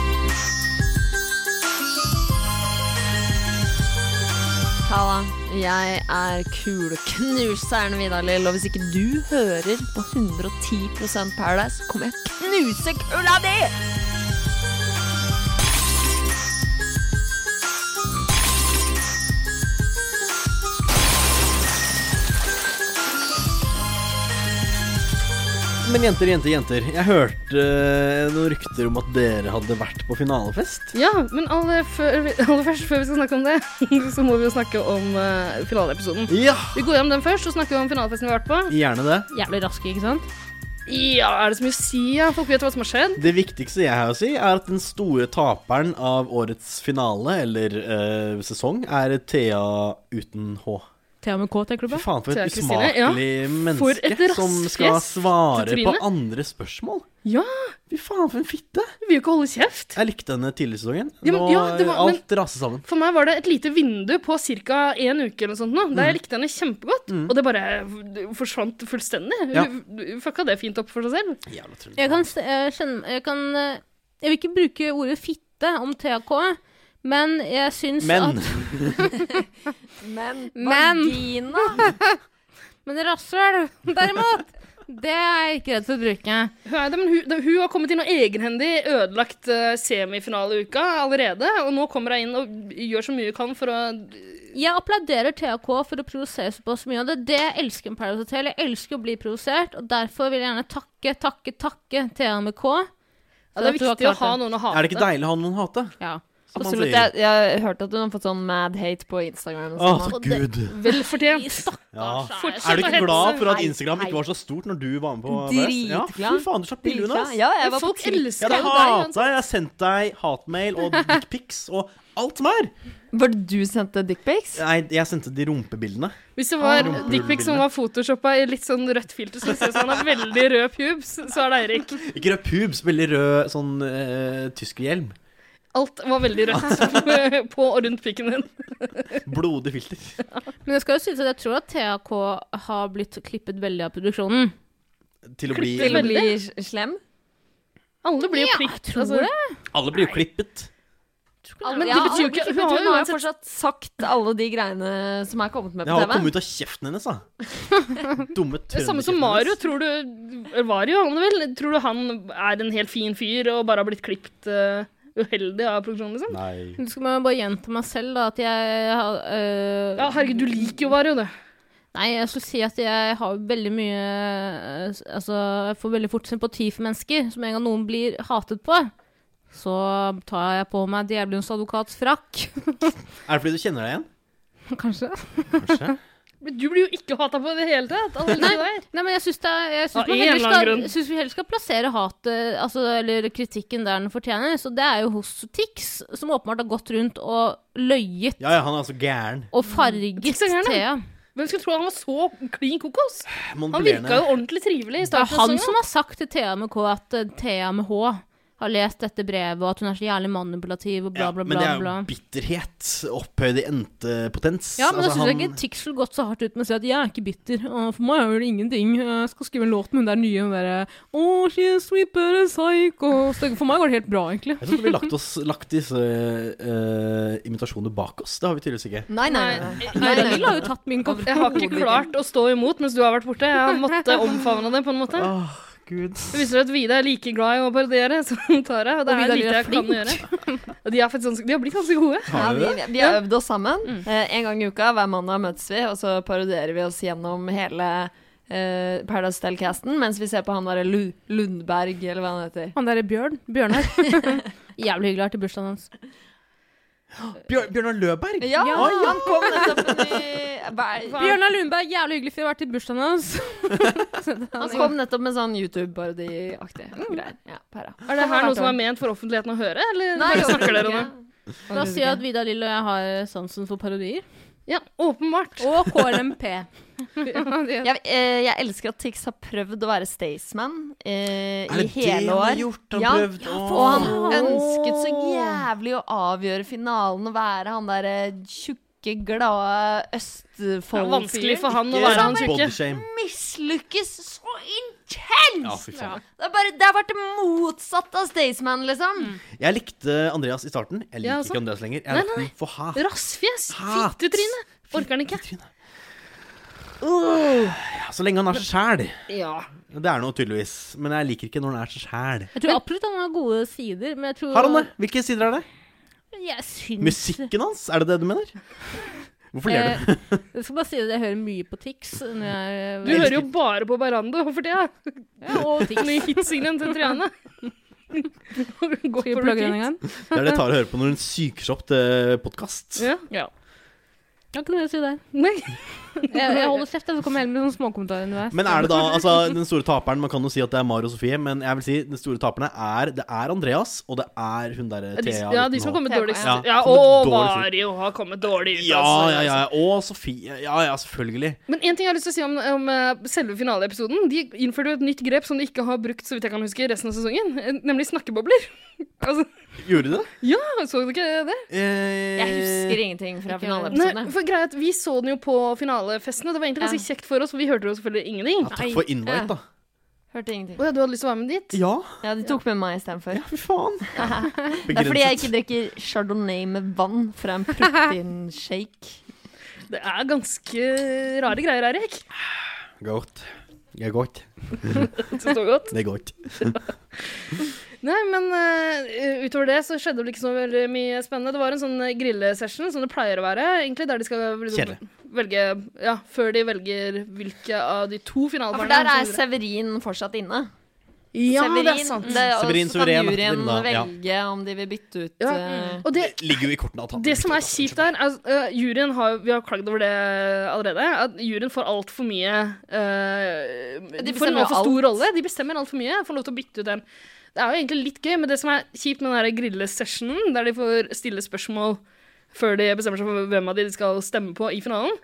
Halla. Jeg er kuleknuseren Vidar-Lill, og hvis ikke du hører på 110 Paradise, kommer jeg til å knuse kula di! Men jenter, jenter, jenter. Jeg hørte eh, noen rykter om at dere hadde vært på finalefest. Ja, men aller, før, vi- aller først, før vi skal snakke om det, så må vi jo snakke om eh, finaleepisoden. Ja! Vi går gjennom den først og snakker om finalefesten vi har vært på. Gjerne det. Jævlig rask, ikke sant? Ja, er det så mye å si? Ja? Folk vet hva som har skjedd. Det viktigste jeg har å si, er at den store taperen av årets finale, eller eh, sesong, er Thea uten H. Thea med K, tenker du Fy på? faen, for Thea et Kristine, usmakelig ja. For et menneske som skal raskest svare tryne. på andre spørsmål. Ja, Fy faen, for en fitte. vi vil jo ikke holde kjeft. Jeg likte henne tidligere i sesongen. Ja, men- Nå eh, ja, det var- alt raser sammen. For meg var det et lite vindu på ca. en uke eller noe sånt nå, der Mm. jeg likte henne kjempegodt. Og det bare f- forsvant fullstendig. Ja. Hun f- fucka det fint opp for seg selv. Jævla tull. Jeg kan, s- eh, kjenne, jeg kan eh, Jeg vil ikke bruke ordet fitte om TAK, men jeg syns Men at Men, Men. vagina Men rasshøl, derimot, det er jeg ikke redd for å bruke. Hun, er det, men hun, det, hun har kommet inn og egenhendig ødelagt eh, semifinaleuka allerede. Og nå kommer hun inn og gjør så mye hun kan for å Jeg applauderer TAK for å provosere såpass mye av det. Det jeg elsker med Paradise Hotel. Jeg elsker å bli provosert, og derfor vil jeg gjerne takke, takke, takke Thea med K. ja, Det er at du har viktig å klart ha det. noen å hate. er det ikke deilig å ha noen å hate? Ja. Som man Absolutt. sier. Jeg, jeg hørte at hun har fått sånn mad hate på Instagram. og Å, sånn. Og det- gud. Vel fortjent. Ja. Fortsett Er du å ikke glad hetse. for at Hei, Instagram hei. ikke var så stort når du var med på Dritglad. Ja, fy faen, du slapp bildet Dritbra. hennes. Ja, jeg var på Folk Twitter. Jeg elsker hadde jo deg. altså. uansett. hata deg. Jeg har sendt deg hatmail og dickpics og alt mer. Var det du som sendte dickpics? Nei, jeg sendte de rumpebildene. Hvis det var Ah. dickpic som var photoshoppa i litt sånn rødt filter, så ser det ut som han har veldig rød pubes, så er det Eirik. Ikke rød pubes, veldig rød sånn eh, tyskerhjelm. Alt var veldig rødt på og rundt pikken din. Blodig filter. Men jeg skal jo synes at jeg tror at TAK har blitt klippet veldig av produksjonen. Til å bli Til å veldig. bli s- slem? Alle blir jo prikt. tror altså. det. Alle blir jo klippet. Men det Ja, betyr jo ikke hun Hun har jo altså har jo uansett fortsatt sagt alle de greiene som er kommet med Det på har TV. jo kommet ut av kjeften hennes, da. Dumme det samme som trønderkjeften Mario, hennes. tror du Vario, om du vil. Tror du han er en helt fin fyr og bare har blitt klippet eh, uheldig av produksjonen, liksom? Nei. Nå skal man bare gjenta meg selv, da, at jeg har øh, Ja, herregud, du liker jo Vario, du. Nei, jeg skulle si at jeg har veldig mye eh, s- Altså, jeg får veldig fort sympati for mennesker. Så med en gang noen blir hatet på, så tar jeg på meg djevelens advokats frakk. Er det fordi du kjenner deg igjen? Kanskje. Kanskje? Men du blir jo ikke hata på i det hele tatt. Alle elsker deg. Nei, men jeg syns Av man en heller eller annen skal, grunn. jeg synes vi heller skal plassere hatet, altså, eller kritikken der den fortjener. Så det er jo hos Tix, som åpenbart har gått rundt og løyet Ja ja, han er altså gæren. og farget Tix er gæren, da. Thea. Hvem skulle tro han var så klin kokos? Han Manipulerende. virka jo ordentlig trivelig i Det er starten. av han sesongen. som har sagt til Thea med K at eh, Thea med H har lest dette brevet, og at hun er så jævlig manipulativ og bla, Ja, bla, men det bla. er jo bla. bitterhet opphøyd i entepotens. Ja, men da Altså, syns jeg han- ikke Tix skulle gått så hardt ut med å si at 'jeg er ikke bitter', og for meg gjør det ingenting. Jeg skal skrive en låt med hun der nye, hun derre 'Oh, she's sweet but a psycho'. Så det- for meg går det helt bra, egentlig. Jeg trodde vi lagt, oss, lagt disse eh, imitasjonene bak oss. Det har vi tydeligvis ikke. Nei, nei, nei. nei. Nei, Daniel har jo tatt min kopp. Jeg har ikke klart å stå imot mens du har vært borte. Jeg har måttet omfavne det på en måte. Åh, Gud. Det viser seg at Vida er like glad i å parodiere som Tara. Og det Og er Vida lite Lyra er jeg kan gjøre. Og de, er faktisk ganske, de har blitt ganske gode. Ja, Har du vi, det? vi har øvd oss sammen. Eh, en gang i uka, hver mandag møtes vi, og så parodierer vi oss gjennom hele eh, Paradise Hotel-casten mens vi ser på han derre Lu Lundberg, eller hva han heter. Han derre Bjørn. Bjørnar. Jævlig hyggelig. Har til bursdagen hans. Bjør, Bjørnar Løberg? Ja, Ja. han kom nettopp en ny hva er- Bjørnar Lundberg, jævlig hyggelig fyr. Har vært til bursdagen hans. Han Mm. kom nettopp med sånn YouTube-parodiaktig greier. Ja, para. Er det her noe som er ment for offentligheten å høre, eller Nei, bare snakker overhodet dere om det? ikke. La oss si at Vidar Lill og jeg har sansen for parodier. Ja, åpenbart. Og KLMP. Jeg, eh, jeg elsker at Tix har prøvd å være Staysman eh, i hele år. Han Ja. prøvd å Og han ønsket så jævlig å avgjøre finalen og være han derre tjukke, glade Det er østfold vanskelig for han å være han tjukke. Bodyshame. Mm, Mislykkes så intenst! Ja, fy faen. Det, er bare, det har vært det motsatte av Staysman, liksom. Mm. Jeg likte Andreas i starten. Jeg liker Ja, altså. ikke Andreas lenger. Jeg Nei, likte den for hat. Rassfjes. Hat. Fittetryne. Orker han ikke. Ja, så lenge han er seg sjæl. Ja. Det er noe tydeligvis. Men jeg liker ikke når han er seg sjæl. Jeg tror absolutt han har gode sider, men jeg tror Har han det? Hvilke sider er det? Jeg syns Musikken hans? Er det det du mener? Hvorfor ler du? Eh, jeg skal bare si at jeg hører mye på Tix. Når jeg, eh, Du hører jo bare på Barando for tida. ja, og Tix. Nye hitsingelen til Triana. Gå Skal vi for plugge den en repeat. gang? Det er det Tara hører på når hun psyker seg opp til podkast. Ja. ja. Jeg har ikke noe å si der. Nei. Jeg, jeg holder kjeft, jeg, så kommer jeg heller med sånne småkommentarer underveis. Men er det da altså, den store taperen Man kan jo si at det er Mari og Sofie, men jeg vil si den store taperne er Det er Andreas, og det er hun derre De, Thea. ja, de som har uten kommet Ja, dårligst. ja. Ja, Kommet og dårligst ut. Mario har kommet dårlig ut. Ja, altså. ja, ja. Og Sofie. Ja, ja, selvfølgelig. Men én ting jeg har lyst til å si om, om eh, selve finaleepisoden. De innførte jo et nytt grep som de ikke har brukt så vidt jeg kan huske, resten av sesongen, eh, nemlig snakkebobler. altså, Gjorde de det? ja, så du ikke det? Eh, Jeg husker ingenting fra Nei, finaleepisodene. for greia er at Vi så den jo på finalefestene. Det var egentlig ganske kjekt for oss, for vi hørte jo selvfølgelig ingenting. ja, Takk for invite, da. Hørte ingenting. Å ja, du hadde lyst til å være med dit? Ja, Ja, de tok med meg istedenfor. fy faen. Det er fordi jeg ikke drikker chardonnay med vann fra en proteinshake. Det er ganske rare greier, Erik. Godt. Det er godt. Det står godt. Det er godt. Nei, men eh, utover det så skjedde det vel ikke så veldig mye spennende. Det var en sånn eh, grillesession som det pleier å være, egentlig, der de skal liksom, Kjedelig. velge Ja, før de velger hvilke av de to Ja, for finalebarna der som er videre. Severin fortsatt inne. Ja, Severin, det er sant. og Severin så Suveren, kan juryen da, ja. velge om de vil bytte ut Ja, Mm. eh, Og det, Ligger jo i kortene at han det som er kjipt der, er eh, juryen har, Vi har klagd over det allerede. At juryen får altfor mye eh, De får en bestemmer jo altfor alt. stor rolle. De bestemmer altfor mye. Får lov til å bytte ut en. Det er jo egentlig litt gøy, men det som er kjipt med den der grillesessionen, der de får stille spørsmål før de bestemmer seg for hvem av de de skal stemme på i finalen,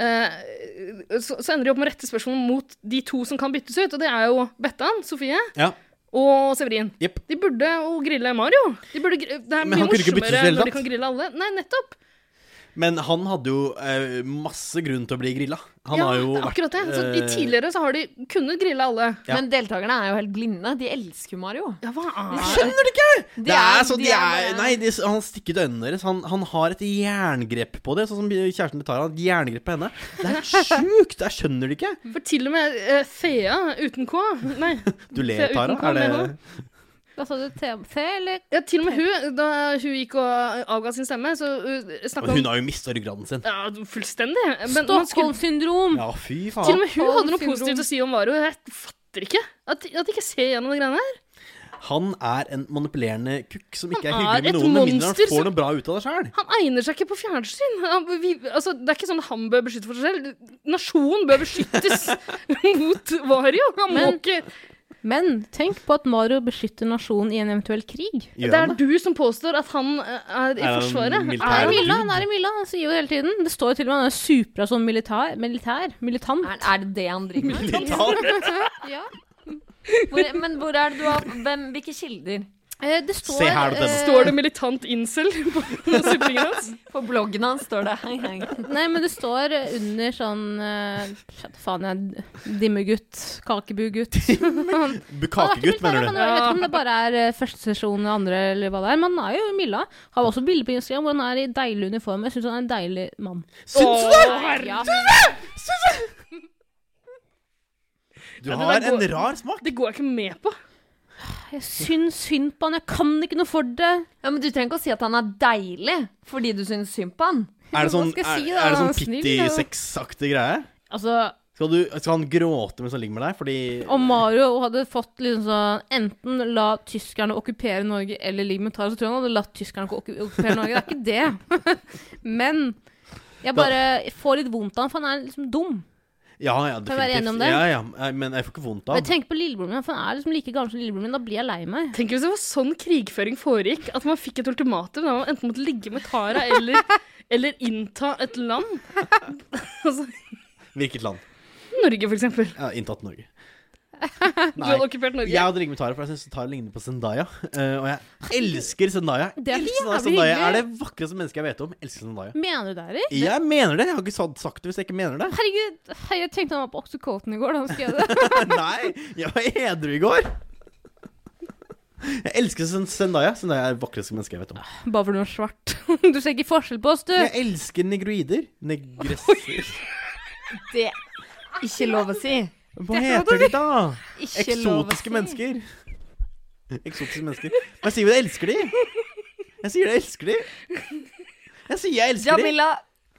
eh, så, så ender de opp med å rette spørsmål mot de to som kan byttes ut, og det er jo Bettan, Sofie, Ja. og Severin. Jepp. De burde jo grille Mario. De burde, gr- det er Men mye han kunne ikke byttes i det morsommere hele når de tatt. kan grille alle. Nei, nettopp. Men han hadde jo eh, masse grunn til å bli grilla. Han ja, har jo det er akkurat det. Så vært, i eh, tidligere så har de kunnet grille alle. Ja. Men deltakerne er jo helt blinde. De elsker jo Mario. Ja, hva er Jeg Skjønner du ikke?! Det er, så, de er, bare- nei, de, han stikket øynene deres. Han, han har et jerngrep på det, sånn som kjæresten til Tara. har Et jerngrep på henne. Det er sjukt! Jeg skjønner det ikke. For til og med eh, Thea uten K Nei. Du Thea ler, uten K, Tara. Er det med H. Hva sa du? TMC, eller? Ja, til og med hun, da hun gikk og eh, avga sin stemme, så uh, Men snakka Hun har jo mista ryggraden sin. Ja, fullstendig. Men man skulle, Stockholm-syndrom! Ja, fy til og faen. med hun hadde noe Stockholm-syndrom. positivt å si om Varo. Jeg fatter ikke at, at de ikke ser gjennom de greiene her. Han er en manipulerende kukk som ikke er Han hyggelig er med et noen, med mindre monster han får som- noe bra ut av det sjøl. Han egner seg ikke på fjernsyn. Han, vi, altså, det er ikke sånn at han bør beskytte for seg selv. Nasjonen bør beskyttes mot Vario. Han må Men- ikke Men tenk på at Mario beskytter nasjonen i en eventuell krig. Det er du som påstår at han eh, er i han Forsvaret. militær? Er Er i han- det Milla, du? han er i Milla, han sier jo det hele tiden. Det står jo til og med han er supra sånn militær, militær, militant. Er, er det det han driver med? Militar. Ja. Hvor, men hvor er det du har hvem, Hvilke kilder? Eh, Det står, Se her, eh, Står det militant incel på supplingen hans? På bloggen hans står det hei, hei. Nei, men det står eh, under sånn eh, Fy faen, jeg er dimmegutt, kakebugutt. Bukakegutt, mener Han du? er, jeg vet ikke om det bare er eh, første sesjon og andre, eller hva det er. Men han er jo i Milla. Har også bilder på Instagram hvor han er i deilig uniform. Jeg syns han er en deilig mann. Syns du det?! Å, herre- Ja. Du Ja, det der har går- en rar smak. Det går jeg ikke med på. Jeg syns synd på han, jeg kan ikke noe for det. Ja, men Du trenger ikke å si at han er deilig fordi du syns synd på han. Er det sånn, Hva skal jeg si er, da? er det sånn Snill, pitty da. sex-aktig greie? Altså, Skal, du, skal han gråte mens han ligger med deg? Fordi om Mario hadde fått liksom sånn Enten la tyskerne okkupere Norge eller ligge med Tara, så tror jeg han hadde latt tyskerne okku- okkupere Norge. Det er ikke det. Men jeg bare får litt vondt av han, for han er liksom dum. Ja, ja, definitivt. Kan vi være enige om det? Ja, ja, eh, men jeg får ikke vondt Og av jeg tenker på lillebroren min, for han er liksom like gammel som lillebroren min. Da blir jeg lei meg. Tenk hvis det var sånn krigføring foregikk, at man fikk et ultimatum der man enten måtte ligge med Tara eller, eller innta et land. Altså, Hvilket land? Norge, for eksempel. Ja, inntatt Norge. Du hadde okkupert Norge. Jeg hadde ringt med Tara, for jeg syns Tara ligner på Zendaya. eh, og jeg elsker Zendaya. Det er så jævlig elsker Zendaya. Zendaya hyggelig. er det vakreste mennesket jeg vet om. Elsker Zendaya. Mener du det, Erik? Jeg mener det. Jeg har ikke sa- sagt det hvis jeg ikke mener det. Herregud, hei, jeg tenkte han var på Oxycoten i går da han skrev det. Nei, jeg var edru i går. Jeg elsker Zen- Zendaya. Zendaya er det vakreste mennesket jeg vet om. Bare fordi hun er svart. Du ser ikke forskjell på oss, du. Jeg elsker negroider. Negresser. Det ikke lov å si. Hva heter de, da? Ikke lov å si. Eksotiske mennesker. Eksotiske mennesker. Men jeg sier jo jeg elsker de. Jeg sier jeg elsker de. Jeg sier jeg elsker de. Jamila,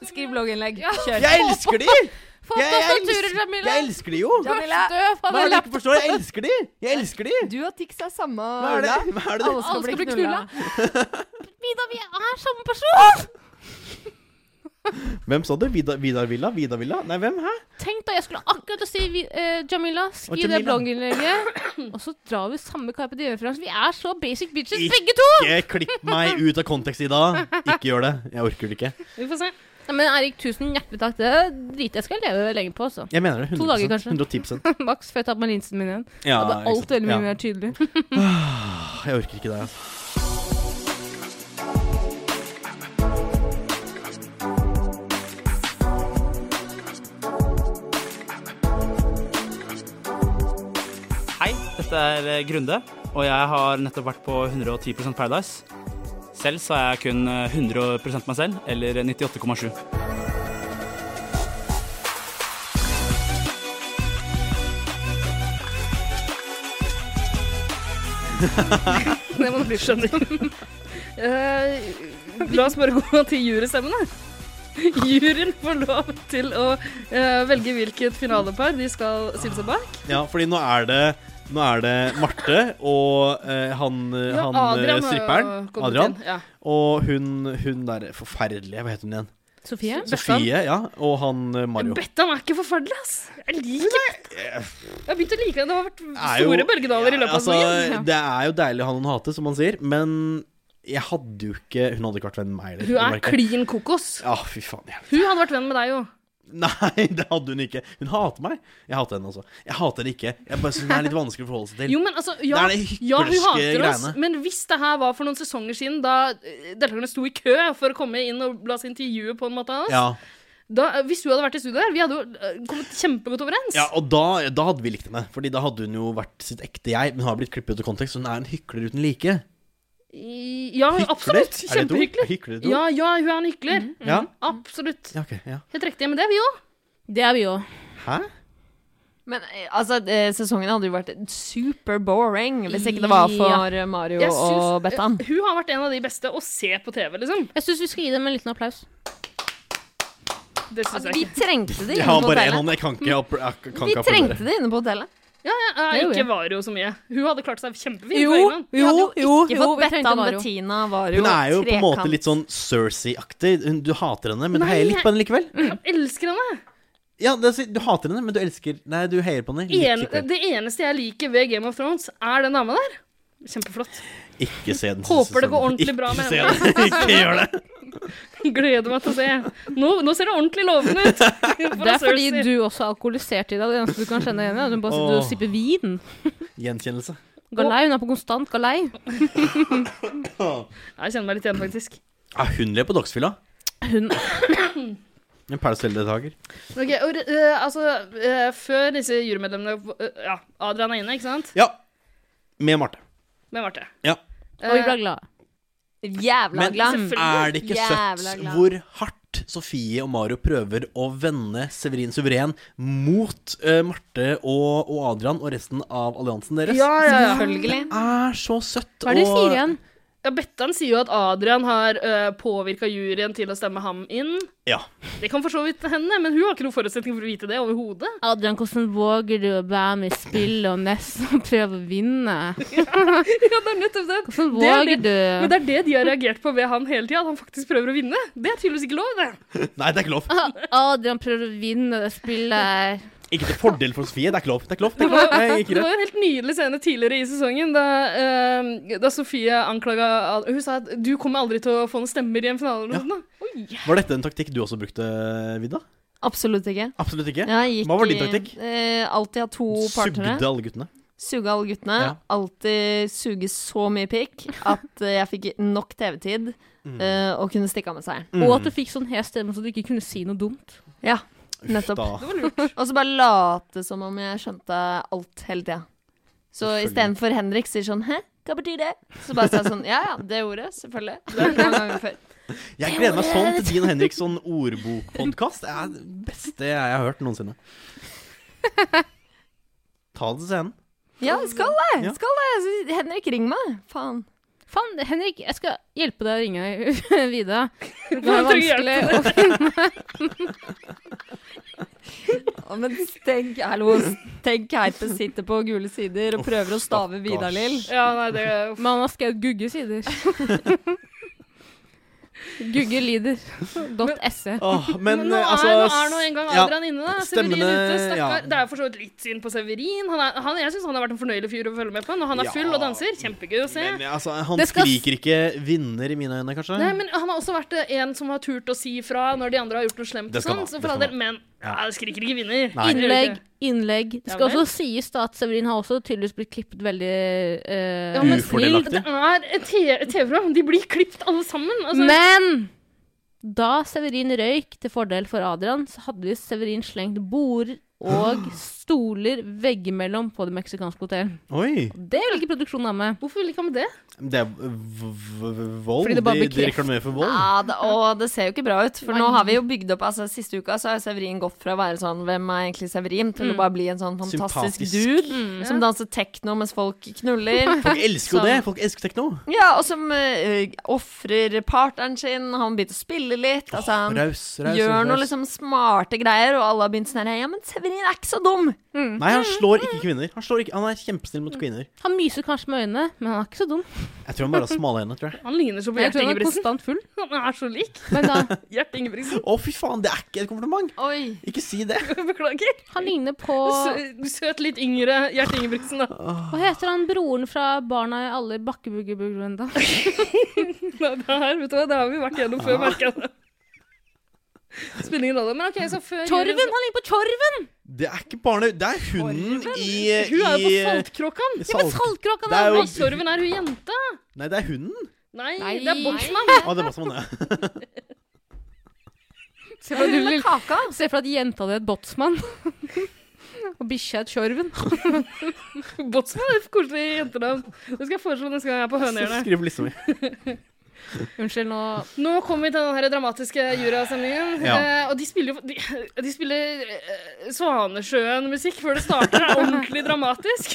skriv blogginnlegg. Kjør. Jeg elsker de! Få Jeg, jeg, tastaturer, elsker, Jamila. jeg elsker de jo. Jamila, Støv, Hva er han det du ikke forstår? Jeg elsker de! Jeg elsker de! du og Tix er samme Hva er det, Ola. Hva er det? Alle skal bli knulla. knulla. Vida, vi er samme person! Hvem sa du? Vidar, Vidar Villa? Vidar Villa? Nei, hvem? Hæ? Tenk da, jeg skulle akkurat å si vi- eh, Jamila, Og skriv det Jamila. blogginnlegget, og så drar vi samme Carpe Diem-referanse. Vi er så basic bitches, Ikke- begge to! Ikke klipp meg ut av kontekst i dag. Ikke gjør det. Jeg orker det ikke. Vi får se. Nei, men Erik, tusen hjertelig takk. Det driter jeg skal leve lenge på, altså. Jeg mener det. 100 To dager, kanskje. 110 Max, før jeg tar på meg linsen min igjen. ja, Da ikke blir alt sant. veldig mye Ja. mer tydelig. Jeg orker ikke det. altså. Hei, dette er eh, Grunde, og jeg har nettopp vært på 110 Paradise. Selv så er jeg kun eh, 100 meg selv, eller 98,7. Det må du bli skjønner. Eh, la oss bare gå til jurystemmene. Juryen får lov til å eh, velge hvilket finalepar de skal stille seg bak. Ja, fordi nå er det nå er det Marte og eh, han, eh, Ja, han eh, har stripperen, kommet Adrian, inn, Ja. og hun, hun der forferdelige Hva heter hun igjen? Sofie? Bettan. Sofie, ja. Og han eh, Mario. Bettan er ikke forferdelig, ass. Jeg liker Bettan. Jeg har begynt å like henne. Det har vært Er jo- store bølgedaler i løpet av altså, sesongen. ja. Det er jo deilig å ha noen hate, som man sier, men jeg hadde jo ikke Hun hadde ikke vært venn med meg. eller, Hun er merker jeg. klin kokos. Ja, fy faen. Jeg. Hun hadde vært venn med deg jo. Nei, det hadde hun ikke. Hun hater meg. Jeg hater henne, altså. Jeg hater henne ikke. Jeg bare synes hun er litt vanskelig å forholde seg til. Jo, men altså, ja, Det er det ja, hun hyklerske hater oss, greiene. men hvis det her var for noen sesonger siden, da eh, deltakerne sto i kø for å komme inn og la seg intervjue på en måte av oss, ja. da, eh, hvis hun hadde vært i studio her, vi hadde jo eh, kommet kjempegodt overens. ja, og da, da hadde vi likt henne. Fordi da hadde hun jo vært sitt ekte jeg, men hun har blitt klippet ut av kontekst. så Hun er en hykler uten like. I- ja Hykler? absolutt. Er det et ord? Kjempehyggelig. Er Hykler et ord? Ja, mm. ja, hun er en hykler. Mhm. Ja. Absolutt. ja, ok. Ja. Helt riktig. Men det er vi òg. Det er vi òg. Hæ? Men eh, altså, eh, sesongen hadde jo vært super boring hvis ikke det var for eh, Mario Jeg Eh, syns- og Bettan. Hun har vært en av de beste å se på TV, liksom. Jeg syns vi skal gi dem en liten applaus. Det syns altså, jeg Vi ikke. trengte det Jeg inne har på bare én hotellet. hånd. Jeg kan Mm. ikke, opp- jeg kan Vi ikke trengte applaudere. det inne på hotellet. Eh, Det gjorde ikke jeg. Vario så mye. Hun hadde klart seg kjempefint Jo, på egen hånd. jo, jo, Ikke fått vi trengte Bettan Mario. Bettina var jo Hun er jo på en måte trekant. litt sånn Cersei-aktig. Hun- Du hater henne, men du Nei, heier litt jeg- på henne likevel. Jeg elsker henne. Ja, det, er- du hater henne, men du elsker Nei, du heier på henne. En, Litt likevel. det eneste jeg liker ved Game of Thrones, er den dama der. Kjempeflott. Ikke se den siste eh, Håper det går sesongen. ordentlig bra med Ikke se henne. den. Ikke gjør det. Gleder meg til å se. Nå, nå ser det ordentlig lovende ut. Det er fordi du også er alkoholisert i dag. Det eneste du kan kjenne igjen, er at hun bare sitter og Åh. sipper vin. Gjenkjennelse. Galei, hun er på konstant galei. Jeg kjenner meg litt igjen, faktisk. Ja, hun lever på Dagsfylla. Hun En pælsdeltaker. Ok, og, eh, altså, eh, Før disse jurymedlemmene eh, Ja, Adrian er inne, ikke sant? Ja. Med Marte. Med Marte. Ja. Og vi Eh, ble glad. Jævla Men glad. selvfølgelig. er det ikke Jævla søtt glad. hvor hardt hardt Sofie og Mario prøver å vende Severin Suveren mot eh, Marte og, og Adrian og resten av alliansen deres. Ja, ja, ja. Selvfølgelig. Det er så søtt. Hva er det du og- sier igjen? ja Bettan sier jo at Adrian har uh, påvirka juryen til å stemme ham inn. Ja. Det kan for så vidt hende, men hun har ikke noen forutsetning for å vite det overhodet. Adrian, hvordan våger du å være med i spill og nesten prøve å vinne? Ja, det er nettopp det. Hvordan Det er våger Men du? det er det de har reagert på ved han hele tida, at han faktisk prøver å vinne. Det er tydeligvis ikke lov, det. Nei, det er ikke lov. Adrian prøver å vinne det spillet her. Ikke til fordel for Sofie. Det er ikke lov. Det er ikke lov. Det er Det ikke lov. var, Nei, jo- ikke det det. var jo en helt nydelig scene tidligere i sesongen da, eh, da Sofie anklaga Hun sa at 'du kommer aldri til å få noen stemmer i en finale' eller noe sånt. da. Var dette en taktikk du også brukte, Vidda? Absolutt ikke. Absolutt ikke. Jeg gikk Hva var din i- taktikk? Eh, alltid ha to partnere. Sugde alle guttene. Suge alle guttene. Ja. Alltid suge så mye pikk at eh, jeg fikk nok TV-tid Mm. eh, og kunne stikke av med seieren. Og at du fikk sånn hes stemme så du ikke kunne si noe dumt. Ja. Mm. Uff Nettopp. da. Det var lurt. Og så bare late som om jeg skjønte alt hele tida. Så Selvfølgelig. istedenfor Henrik sier sånn 'hæ, hva betyr det?' Så bare sa jeg sånn 'ja ja, det ordet, selvfølgelig'. Det har jeg hørt mange ganger før. Jeg gleder meg sånn til din Henriksson ordbokpodkast. Det er det beste jeg har hørt noensinne. Ta det til scenen. Ja, skal det! Ja. Skal det! Så Henrik, ring meg! Faen. Faen, Henrik, jeg skal hjelpe deg å ringe Vida. Det var trenger hjelp. vanskelig å finne Å, Men tenk, hallo, tenk Keipe sitter på gule sider og prøver å stave Vidar Lill. Ja, nei, det Men han har skrevet Gugge sider. Gugge lider. Dot E. se. Åh, men, Men nå, eh, altså, er, nå er nå en gang ja. Adrian inne, da. Severin Stemmene- ute, stakkar. ja. Det er jo for så vidt litt synd på Severin. Han er, han, jeg syns han har vært en fornøyelig fyr å følge med på. Når han er Ja. full og danser, kjempegøy å se. Men altså, han Det skal- skriker ikke vinner i mine øyne, kanskje. Nei, men Han har også vært eh, en som har turt å si fra når de andre har gjort noe slemt. Det og skal sånn, han ha, så det for all skal del, Men Ja. ja, det skriker ikke vinner. Nei. Det gjør det Innlegg, ikke. innlegg. Det Ja skal vel. også sies da at Severin har også tydeligvis blitt klippet veldig eh, Ja, men- snilt. Ufordelaktig. Det er et te- TV-program. De blir klippet alle sammen. Altså, Men da Severin røyk til fordel for Adrian, så hadde vi Severin slengt bord og stoler veggimellom på det meksikanske hotellet. Oi. Det vil ikke produksjonen ha med. Hvorfor vil ikke han det? Det er v- v- v- vold. Fordi det bare De, de bekrefter- reklamerer for vold. Ja, det, og det ser jo ikke bra ut. For nå har vi jo bygd opp altså Siste uka så har jo Severin gått fra å være sånn Hvem er egentlig Severin? til å bare bli en sånn fantastisk Sympatisk. dude som danser tekno mens folk knuller. Folk elsker jo Sånn. det. Folk elsker tekno. Ja, og som uh, ofrer partneren sin. Han begynte å spille litt. Altså, han Raus, raus. gjør raus. noe liksom smarte greier, og alle har begynt sånn her Ja, men Severin er ikke så dum! Nei, han slår Mm. ikke kvinner. Han, slår ikke, han er kjempesnill mot kvinner. Han myser kanskje med øynene, men han er ikke så dum. Jeg tror han bare har smale hender, tror jeg. Han ligner så på Jeg Gjert tror han er Ingebrigtsen. konstant full. Han er så lik Men da, Gjert Ingebrigtsen. Å, fy faen, det er ikke et kompliment! Oi. Ikke si det. Beklager. han ligner på Sø- Søt, litt yngre Gjert Ingebrigtsen, da. Hva heter han broren fra Barna i alle bakkebuggebuggene? Nei, Det, her, vet du hva? det har vi vært gjennom før, merker jeg. Spiller ingen rolle. Men OK, så før Torven! Han ligner på Torven! Det er ikke barne... Det er hunden i Hun er jo på i- Saltkråkan. Salt. Saltkråka! Det er jo- Nei, Torven er hun jenta. Nei, det er hunden. Nei, Nei. det er boksmann. Å, det er Botsman, ja. Se for deg at du vil- Kaka. se for deg at jenta di er et botsmann. Og bikkja er Tjorven. Botsmann er et koselig jentenavn. Det skal jeg foreslå neste gang jeg er på Hønehjørnet. Skriv på lista mi. Unnskyld, nå Nå kommer vi til den her dramatiske jurasendingen. Ja. Eh, og de spiller jo de, de spiller eh, Svanesjøen-musikk før det starter. Det er ordentlig dramatisk.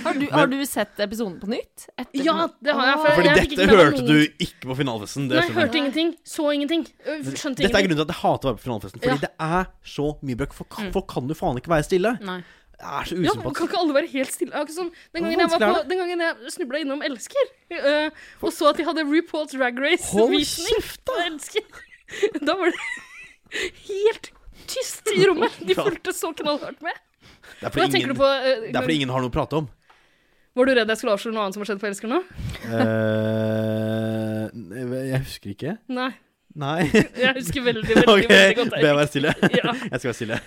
Har du, har du sett episoden på nytt? Etter Ja, det har jeg. For Fordi jeg fikk dette ikke med meg hørte du noen- ikke på finalefesten. Det Nei, jeg skjønner jeg. hørte ingenting. Så ingenting. ø, Skjønte Dette er ingenting. grunnen til at jeg hater å være på finalefesten. Ja. Fordi Mm. det er så mye bråk. For, kan- for kan du faen ikke være stille? Nei. Det er så Ja, men kan usympatisk. ikke alle være helt stille? Det er ikke sånn, den gangen jeg, var Vanskelig er på, den gangen jeg snubla innom Elsker, ø, og så at de hadde RuPaul's Drag Hold Race-visning kjeft, på da! Elsker, da var det helt tyst i rommet. De fulgte så knallhardt med. Det er Hva fordi tenker du ingen, på? øh, ø, det er fordi ingen har noe å prate om. Var du redd jeg skulle avsløre noe annet som har skjedd på Elsker nå? Eh, jeg husker ikke. Nei. Nei. Jeg husker veldig, veldig, OK, veldig godt. be meg være stille. Ja. Jeg skal være stille.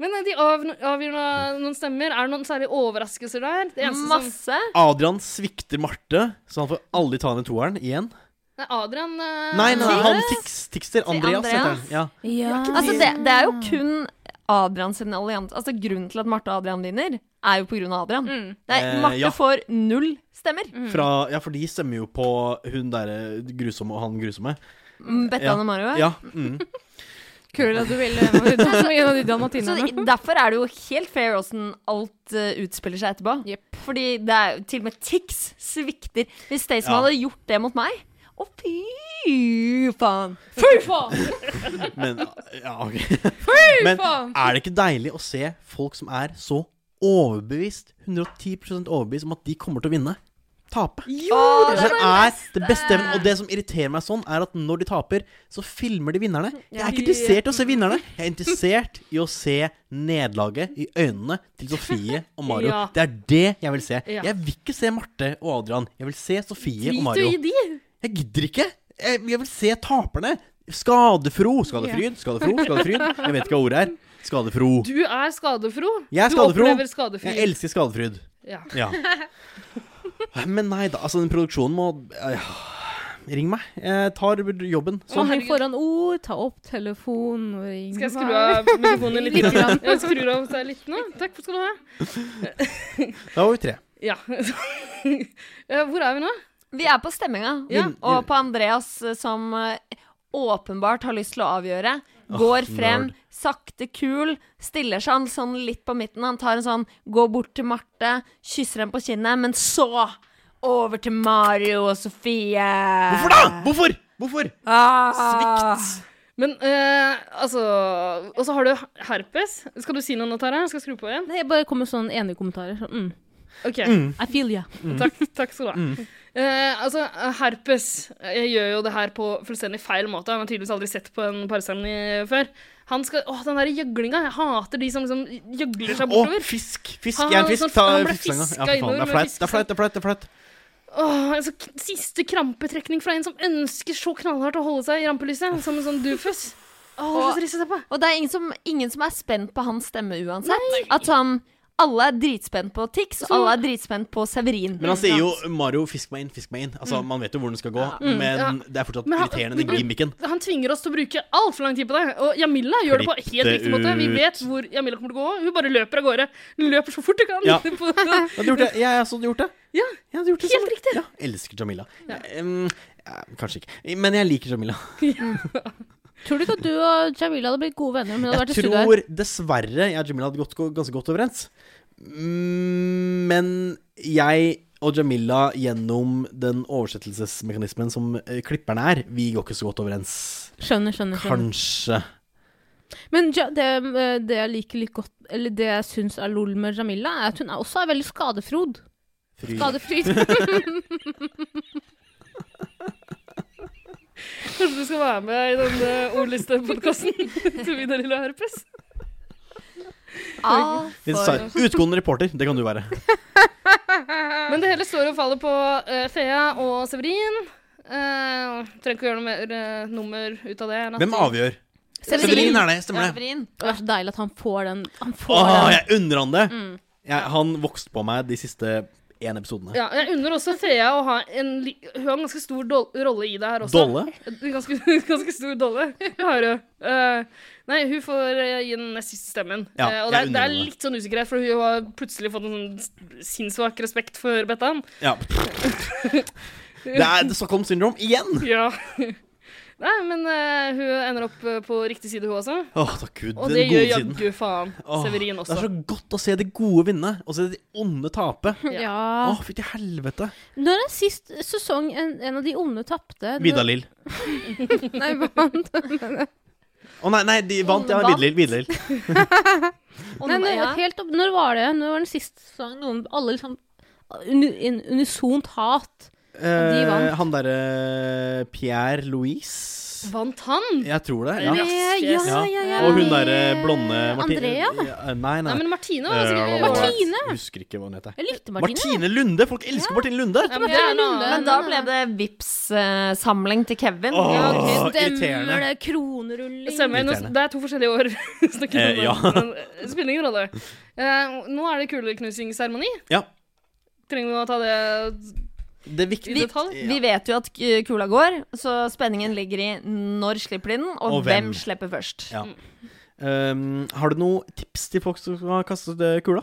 Men eh, de av, avgir noe- noen stemmer. Er det noen særlige overraskelser der? Det eneste som, Masse. Adrian svikter Marte, så han får aldri ta ned toeren igjen. nei, Adrian eh, Nei, nei, han tiks, tikster. Andreas, Andreas. heter han. Ja. Altså, det, det er jo kun Adrian sin allianse Altså, grunnen til at Marte og Adrian vinner, er jo på grunn av Adrian. Mm. Nei, Eh, Marte ja. får null stemmer. Fra, ja, for de stemmer jo på hun derre grusomme og han grusomme. Mm, Bettan og Mario? Ja. Mm. Kult at du ville være en av de Så dalmatinerne. det- derfor er det jo helt fair åssen alt eh, utspiller seg etterpå. Jepp. Fordi det er til og med Tix svikter. Hvis Staysman Ja. hadde gjort det mot meg Å, fy faen! Fy faen! Men ja, ok. Men faen! er det ikke deilig å se folk som er så overbevist, 110 overbevist om at de kommer til å vinne, tape? Jo, Det er det beste evnen. eh, Og det som irriterer meg sånn, er at når de taper, så filmer de vinnerne. Jeg er ikke interessert i å se vinnerne. Jeg er interessert i å se nederlaget i øynene til Sofie og Mario. Ja. Det er det jeg vil se. Ja. Jeg vil ikke se Marte og Adrian. Jeg vil se Sofie og Drit jo Mario. i de. Jeg gidder ikke. Jeg, jeg vil se taperne. Skadefro. Skadefryd. Skadefro. Skadefryd. Jeg vet ikke hva ordet er. Skadefro. Du er skadefro. Jeg er Du skadefro. opplever skadefri. Jeg elsker skadefryd. Ja. Ja. Men nei da. Altså, den produksjonen må ja, Ring meg. Jeg tar jobben. Så heng foran ord, ta opp telefonen og ring. Skal jeg skru av mikrofonen litt? Litt grann. Jeg skrur av seg litt nå. Takk for skal du ha. Da var vi tre. Ja. Eh, Hvor er vi nå? Vi er på stemminga. Ja. Og på Andreas eh, som eh, åpenbart har lyst til å avgjøre. Går frem, nerd. sakte kul, stiller seg han sånn litt på midten. Han tar en sånn, går bort til Marte, kysser henne på kinnet, men så over til Mario og Sofie. Hvorfor da?! Hvorfor?! Hvorfor? Ah. Men eh, altså Og så har du herpes. Skal du si noe nå, Tara? Jeg skal skru på igjen? Nei, jeg bare kommer med sånne enige kommentarer. Sånn, mm. OK. I feel ya. Mm. Takk, takk skal du ha. Eh, altså, herpes jeg gjør jo det her på fullstendig feil måte. Han har tydeligvis aldri sett på en parseremoni før. Han skal, åh, den der gjøglinga. Jeg hater de som liksom gjøgler seg Å, bortover. fisk! Fisk! Han- Jeg er en fisk. sånn- Ta han ble fiskestanga. fiska Ja, fy faen. Det innover er med flaut. Det er flaut. Det er flaut. Det er flaut. liksom. Åh, altså, k- siste krampetrekning fra en som ønsker så knallhardt å holde seg i rampelyset, som en sånn doofus. Åh, det er så trist å se på. Og det er ingen som, ingen som er spent på hans stemme uansett. At sånn alle er dritspent på Tix, og alle er dritspent på Severin. Men han sier jo 'Mario, fisk meg inn, fisk meg inn'. Altså, Man vet jo hvor den skal gå, Mm. Ja. men det er fortsatt Men han- irriterende, den gimmicken. Han tvinger oss til å bruke altfor lang tid på det. Og Jamila gjør det på Klipp helt det riktig måte. Vi ut. vet hvor Jamila kommer til å gå. Hun bare løper av gårde. Løper så fort hun kan. Ja. På- Jeg hadde gjort det. Jeg, jeg hadde gjort det. Ja, Jeg hadde gjort det helt samme. riktig. Ja, elsker Jamila. Em, ja, kanskje ikke. Men jeg liker Jamila. Tror du ikke at du og Jamila hadde blitt gode venner om hun hadde vært i Jeg studio her? tror dessverre jeg og Jamila hadde gått gå- ganske godt overens. Mm, Men jeg og Jamila gjennom den oversettelsesmekanismen som eh, klipperne er, vi går ikke så godt overens. Skjønner, skjønner. skjønner. Kanskje. Men ja, det, eh, det jeg liker litt godt, eller det jeg syns er lol med Jamila, er at hun er også er veldig skadefrod. Fry. Skadefryd. Kanskje du skal være med i denne ordlistepodkasten til Vidar Lille Herpes? Ah, Litt for... sar- Utgående reporter, det kan du være. Men det hele står og faller på eh, Thea og Severin. Eh, trenger ikke å gjøre noe mer eh, nummer ut av det. enn at- Hvem avgjør? Severin er det, stemmer det. Severin. Det er så deilig at han får den. Han får Åh, den. jeg unner han det! Mm. Jeg, han vokste på meg de siste én episodene. Ja, jeg unner også Thea å ha en, li- hun har en ganske stor dol- rolle i det her også. Dolle? En Ganske, ganske stor dolle. Det har hun. Eh, nei, hun får eh, gi den nest siste stemmen. Ja, Eh, og det er, det jeg er unner henne. litt sånn usikkerhet, for hun har plutselig fått en sånn s- sinnssvak respekt for Bettan. Ja. Det er The Stockholm Syndrome igjen! Ja. Nei, men eh, hun ender opp eh, på riktig side, hun også. Åh, takk gud. Og Den det gode gjør siden. jaggu faen Åh, Severin Det også. er så godt å se det gode vinne, og se det onde tape. Å, Ja. fy til helvete. Når er sist sesong en, en av de onde tapte? Når- Vidar-Lill. Nei, vant. Å nei, nei, de vant. Ja, Vant. Vidar-Lill. Vidar-Lill. Og nå- Nei, når, ja. helt opp, når var det? Når var den siste sesongen noen Alle liksom uni, en unisont hat. de vant. Eh, han derre eh, Pierre Louise Vant han? Jeg tror det. Ja. Ja. ja, ja, ja, ja. Og hun derre blonde Marti- Andrea? Ja, nei, nei. Nei, men Martine var Eh, sikkert hva var det? Martine? Jeg husker ikke hva hun heter. Jeg likte Martine. Martine Lunde! Folk elsker Martine Lunde! Ja, men det er noe annet. Men da ble det Vipps-samling til Kevin. Åh, Ja, ok. Åh, Stemmer irriterende. det. Kronerulling. Stemmer. Nå, Irriterende. det er to forskjellige år. Snakker Eh, om det, ja. men det spiller ingen rolle. Eh, nå er det kuleknusingsseremoni. Ja. Trenger vi å ta det Det er i viktig detalj? Vi vet jo at k- kula går, så spenningen ligger i når slipper de den, og, Og hvem. hvem. slipper først. Ehm, Ja. Um, har du noen tips til folk som skal kaste eh, kula?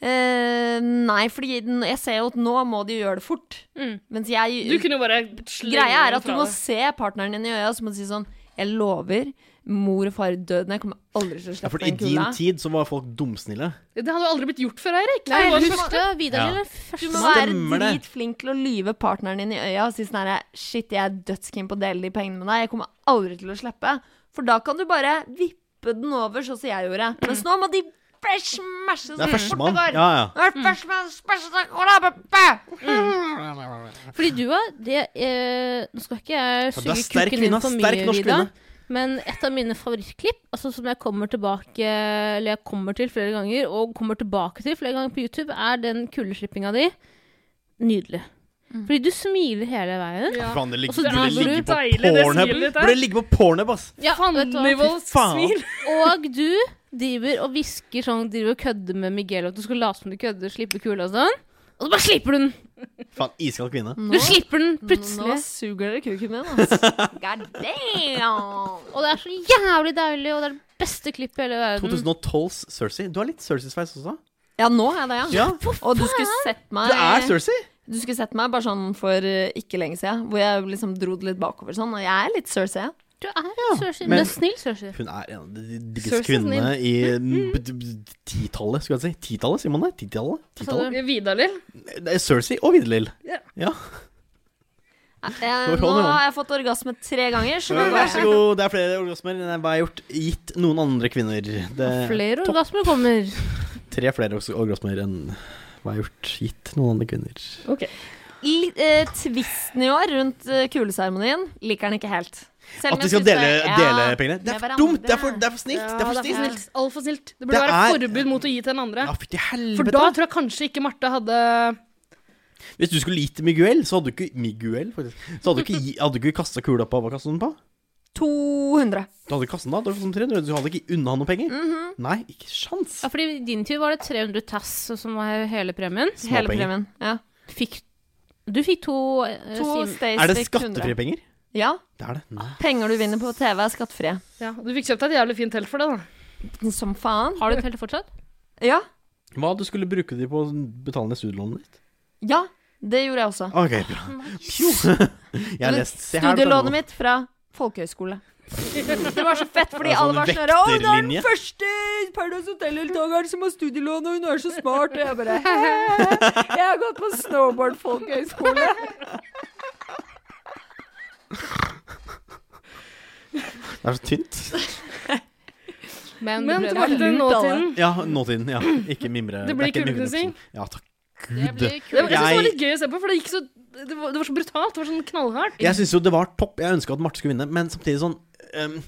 Eh, nei, fordi den- jeg ser jo at nå må de gjøre det fort. Mm. Mens jeg Du kunne jo bare slenge Greia er at fra du må deg. se partneren din i øya og så må du si sånn Jeg lover, mor og far er døde, men jeg kommer aldri til å Ja, slippe for i den din kula. tid så var folk dumsnille. Det hadde jo aldri blitt gjort før, Eirik. Nei, Det var den så- første Vidar Ja. eller den Du første må være Stemmer det. dritflink til å lyve partneren din i øya og si sånn herre Shit, jeg er dødskeen på å dele de pengene med deg. Jeg kommer aldri til å slippe. For da kan du bare vippe den over, sånn som jeg gjorde. Mens nå må de fresh mashe Det er førstemann. Mm. Ja, ja. Fordi du var det, eh, Nå skal ikke jeg Ja, du er suge sterk kukken din kvinne, for sterk mye, norsk Vida. kvinne. Men et av mine favorittklipp, altså som jeg kommer tilbake Eller jeg kommer til flere ganger, og kommer tilbake til flere ganger på YouTube, er den kuldeslippinga di. Nydelig. Mm. Fordi du smiler hele veien. Ja. Faen, det ligger, Også burde deilig, ligge det på pornhub. smilet der. Burde ligge på pornhub, ass. Ja, vet du hva? Fannivål faen. smil. Og du driver og hvisker sånn, driver og kødder med Miguel at du skal late som du kødder, slippe kula og sånn. Og så bare slipper du den! Faen, iskald kvinne. Du slipper den Nå plutselig. suger dere kuken min, altså. God damn! Og det er så jævlig deilig, og det er det beste klippet i hele verden. 2012s Cersei. Du har litt Cerseys-sveis også. Ja, nå er det, ja. Ja, Og du skulle sett meg det er Cersei. Du skulle sett meg bare sånn for eh, ikke lenge siden, hvor jeg liksom dro det litt bakover sånn, og jeg er litt Cersei. Du er Cersei. men- Du er snill, Cersei. Hun er en av de diggeste Cersei kvinnene i mm, b- b- titallet, skulle jeg si. Titallet, sier man det? Titallet? Titallet? Vidar-Lill. Det er Cersei og Videlill. Ja. Ja. Eh, Hvor Nå holder man? har jeg fått orgasme tre ganger, så nå Vær så god, det er flere orgasmer enn hva jeg har gjort gitt noen andre kvinner. Det er Flere Eh, topp. orgasmer kommer. tre flere orgas- orgasmer enn hva jeg har gjort gitt noen andre kvinner. Li- eh, Tvisten i år rundt eh, kuleseremonien liker den ikke helt. Selv om At de jeg skal synes dele, det- ja, dele pengene? Det med er for hverandre. dumt! Det er for, det er for snilt! det er for det er for snilt! Altfor snilt. Det burde Det være er- forbud mot å gi til den andre. Ja, fytti For helvete. da tror jeg kanskje ikke Marte hadde Hvis du skulle gitt til Miguel, så hadde du ikke Miguel, faktisk. Så hadde du ikke, gi- hadde du ikke kasta kula på. Hva kastet du den på? 200. Du hadde kastet den da, du hadde, kastet den 300. du hadde ikke unna han noen penger? Mhm, Nei, ikke sjans! Ja, fordi I din tid var det 300 tass som var hele premien. Hele penger. premien. Ja. Fikk, du fikk to, eh, To sim- Stay Er det Stick 100. skattefrie penger? Ja. Det er det. Nei. Penger du vinner på TV, er skattefrie. Ja, Du fikk kjøpt deg et jævlig fint telt for det, da. Som faen. Har du telt fortsatt? Ja. Hva du skulle bruke de på å betale ned studielånet ditt? Ja. Det gjorde jeg også. Ok, bra. Pjo. Jeg har lest Se her, Studielånet Tanja. mitt fra folkehøyskole. Det var så fett, fordi Det er alle sånn var sånn Å, det er vekterlinje. den første Paradise Hotel-deltakeren som har studielån, og hun er så smart. Og jeg bare «Hæ? Jeg har gått på snowboard-folkehøyskole. Det er så tynt. Men, Men du prøvde. tilbake til lurt, alle. nåtiden. Ja, nåtiden. Ja, ikke mimre. Det blir er ikke kuleknusing. mimrepussing. Ja, takk Det gud. blir Det var, jeg synes kult. det var Jeg- litt gøy å se på, for det gikk så Det var, det var så brutalt. Det var sånn knallhardt. Jeg syns jo det var topp. Jeg ønska at Marte skulle vinne, men samtidig sånn ehm,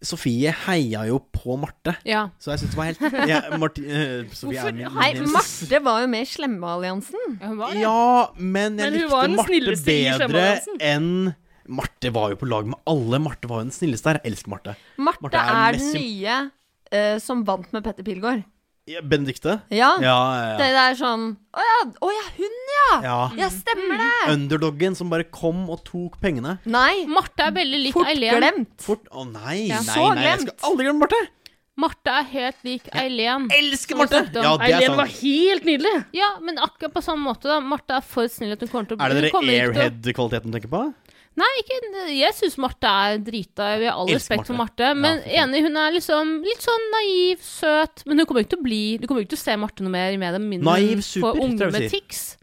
Sofie heia jo på Marte, Ja. så jeg syns det var helt jeg, Marte, eh, Sofie Hvorfor- er min Nei, min- Marte var jo med i Slemmealliansen. ja, hun var det. Ja, men jeg Men hun var den likte snilleste i Marte bedre Skjemadansen. enn Marte var jo på lag med alle. Marte var jo den snilleste her. Jeg elsker Marte. Marte, Marte er er den mest symp- nye eh, som vant med Petter Pilgaard. Ja, Benedicte? Ja. Ja, Det, ja, det er sånn Å ja, å ja, hun, ja. ja. ja, stemmer det! Underdoggen som bare kom og tok pengene. Nei, Marte er veldig lik fort Eileen. glemt. Fort Å nei, Ja. nei, Så nei, jeg glemt. skal aldri glemme Marte! Marte er helt lik Eileen. Elsker Marte. Ja, det er Eileen var sant. helt nydelig. Ja, men akkurat på samme måte. da Marte er for snill at hun kommer til å Er det hun dere kommer ikke til å- airhead-kvaliteten du tenker på? Nei, ikke, jeg syns Marte er drita. Vi har all Elsker respekt for Marte. Marte. Men Ja, for faen. enig, hun er liksom litt sånn naiv, søt. Men hun kommer ikke til å bli Du kommer ikke til å se Marte noe mer i media. med mindre Naiv hun super, får tror jeg unge vi med sier. tics.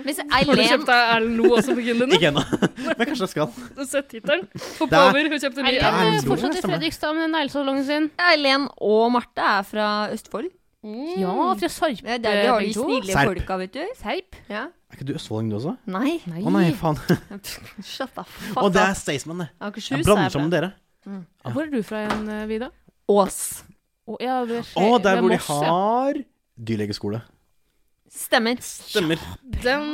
Hvis Har du Eileen kjøpt deg Erlend Loe også på Kindlen? Ikke ennå, men kanskje jeg skal. Du har sett tittelen? Hopp Der. over. Hun kjøpte ny Eileen Erlend. Erlend er Loe, fortsatt i stemmer det. Fredrikstad med neglesalongen sin. Eileen og Marte er fra Østfold. Ja, fra Sarp. Mm. Det er der de har de begge to. snille Serp. folka, vet du. Serp? Ja. Er ikke du østfolding, du også? Nei. Nei. Å nei, faen. Shut the fuck Å, det up. er Staysman, det. Akershus Jeg er blander fra- sammen med dere. Hvor er du fra igjen, eh, Vida? Ås. Å, ja, ved Skje- Å, ved der hvor de Moss, ja. har dyrlegeskole. Stemmer. Stemmer. Den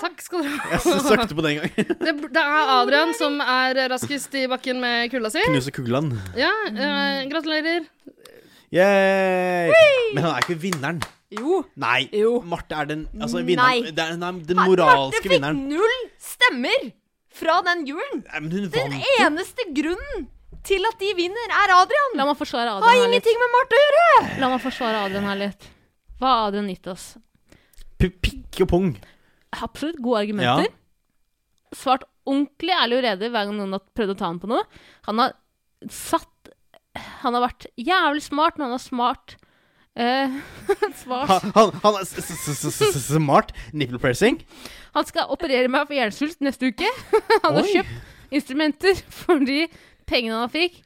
Takk skal dere ha. Jeg søkte på det en gang. Det, det er Adrian som er raskest i bakken med kula si. Knuse kuglan. Ja, eh, gratulerer. Yeah. Men han er ikke vinneren. Jo. Nei. Jo. Marte er den altså, Nei. vinneren. Det er, nei, den Marte moralske fikk vinneren. null stemmer fra den julen. Nei, men hun vant. Eneste grunnen til at de vinner, er Adrian. La meg forsvare Har Adrian her litt. ingenting med Marte å gjøre! La meg forsvare Adrian her litt. Hva har Adrian gitt oss? P- Pikk og pung. Absolutt gode argumenter. Svart ordentlig ærlig og redig hver gang noen har prøvd å ta ham på noe. Han har satt Han har vært jævlig smart, men han er smart eh, Smart. Han, han, han er s- s- s- s- s- smart. Nipple piercing. Han skal operere meg for hjernesvulst neste uke. Han har Oi. kjøpt instrumenter for de pengene han fikk.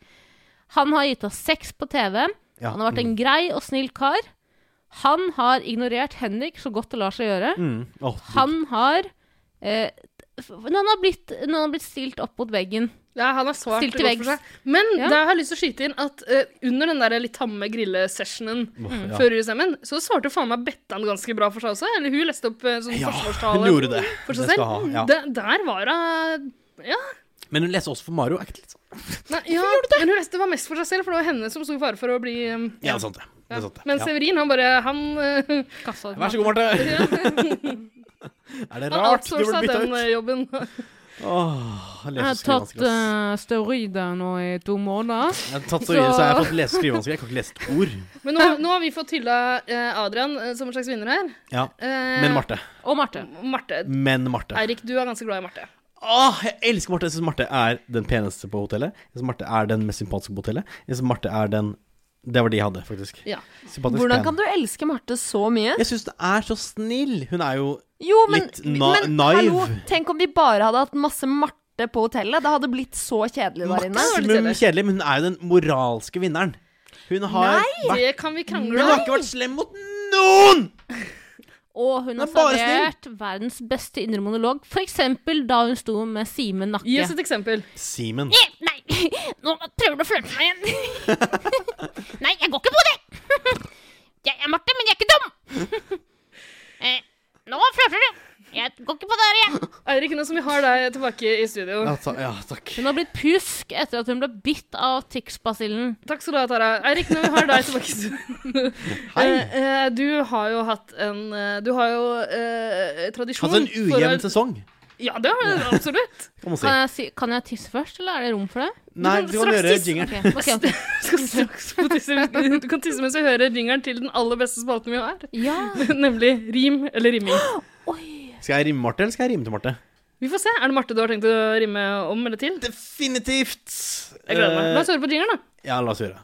Han har gitt oss sex på TV. Ja. Han har vært en grei og snill kar. Han har ignorert Henrik så godt det lar seg gjøre. Mm. Åh, Han har eh, f- når, han har blitt, når han har blitt stilt opp mot veggen. Ja, han har svart Stilt til godt veggs. for seg. Men Ja. da har jeg lyst til å skyte inn at eh, under den der litt tamme grillesessionen Åh, ja. før USM-en, så svarte faen meg Bettan ganske bra for seg også. Eller hun leste opp eh, sånn Ja, hun forsvarstale gjorde det. for seg Det selv. skal ha, ja. Det- der var hun Ja. Men hun leser også for Mario. Er ikke det litt sånn? Nei, ja men hun leste var mest for seg selv, for det var henne som sto i fare for å bli eh, Ja, det er sant det. det, er sant det. Men Ja. Severin, han bare Han, eh, Kassa. Vær så god, Marte. Er det han rart du outsourca ble bytta den ut? eh, jobben. Åh, jeg Jeg har leser og tatt skrivevansker, ass. uh, steroider nå i to måneder. Jeg har tatt så mye, så jeg har fått lese og skrivevansker. Jeg kan ikke lese et ord. Men nå, nå har vi fått hylla eh, Adrian eh, som en slags vinner her. Ja. Eh, Men Marte. Og Marte. Marte. Men Marte. Eirik, du er ganske glad i Marte. Åh, jeg elsker Marte. Jeg syns Marte er den peneste på hotellet. Jeg synes Marte er den mest sympatiske på hotellet. Jeg synes Marte er den Det var de jeg hadde, faktisk. Ja. Sympatisk Hvordan pen. kan du elske Marte så mye? Jeg syns det er så snill. Hun er jo Jo, men, Litt na- men naiv. hallo, tenk om de bare hadde hatt masse Marte på hotellet. Det hadde blitt så kjedelig der inne. maksimum kjedelig, men hun er jo den moralske vinneren. Hun har vært, Det kan vi Hun krangle om. har ikke vært slem mot noen! Og hun har Men bare servert verdens beste indre monolog, f.eks. da hun sto med Simen Nakke. Gi oss et eksempel. Simen. Nei, nå prøver du å flørte meg igjen. Nei, jeg går ikke på det. Jeg er Marte, men jeg er ikke dum. Eh, Nå flørter du. Jeg går ikke på det her igjen. Eirik, nå som vi har deg tilbake i studio Ja, ta, ja takk. Hun har blitt pjusk etter at hun ble bitt av tics-basillen. Takk skal du ha, Tara. Eirik, når vi har deg tilbake i studio Hei. Eh, eh, Du har jo hatt en eh, Du har jo eh, tradisjon Hatt Altså, en ujevn for å- sesong, Ja, det har du absolutt. kan man si. Kan jeg, si, kan jeg tisse først, eller er det rom for det? Nei, kan du kan straks gjøre tisse. jingeren. Ok, ok, ok. Du skal straks få tisse. Du kan tisse mens jeg hører jingeren til den aller beste spalten vi har. Ja. Nemlig rim eller rimming. Skal jeg rimme Marte, eller skal jeg rime til Marte? Vi får se. Er det Marte du har tenkt å rimme om eller til? Definitivt. Jeg gleder meg. Eh, La oss høre på jingeren, da. Ja, la oss gjøre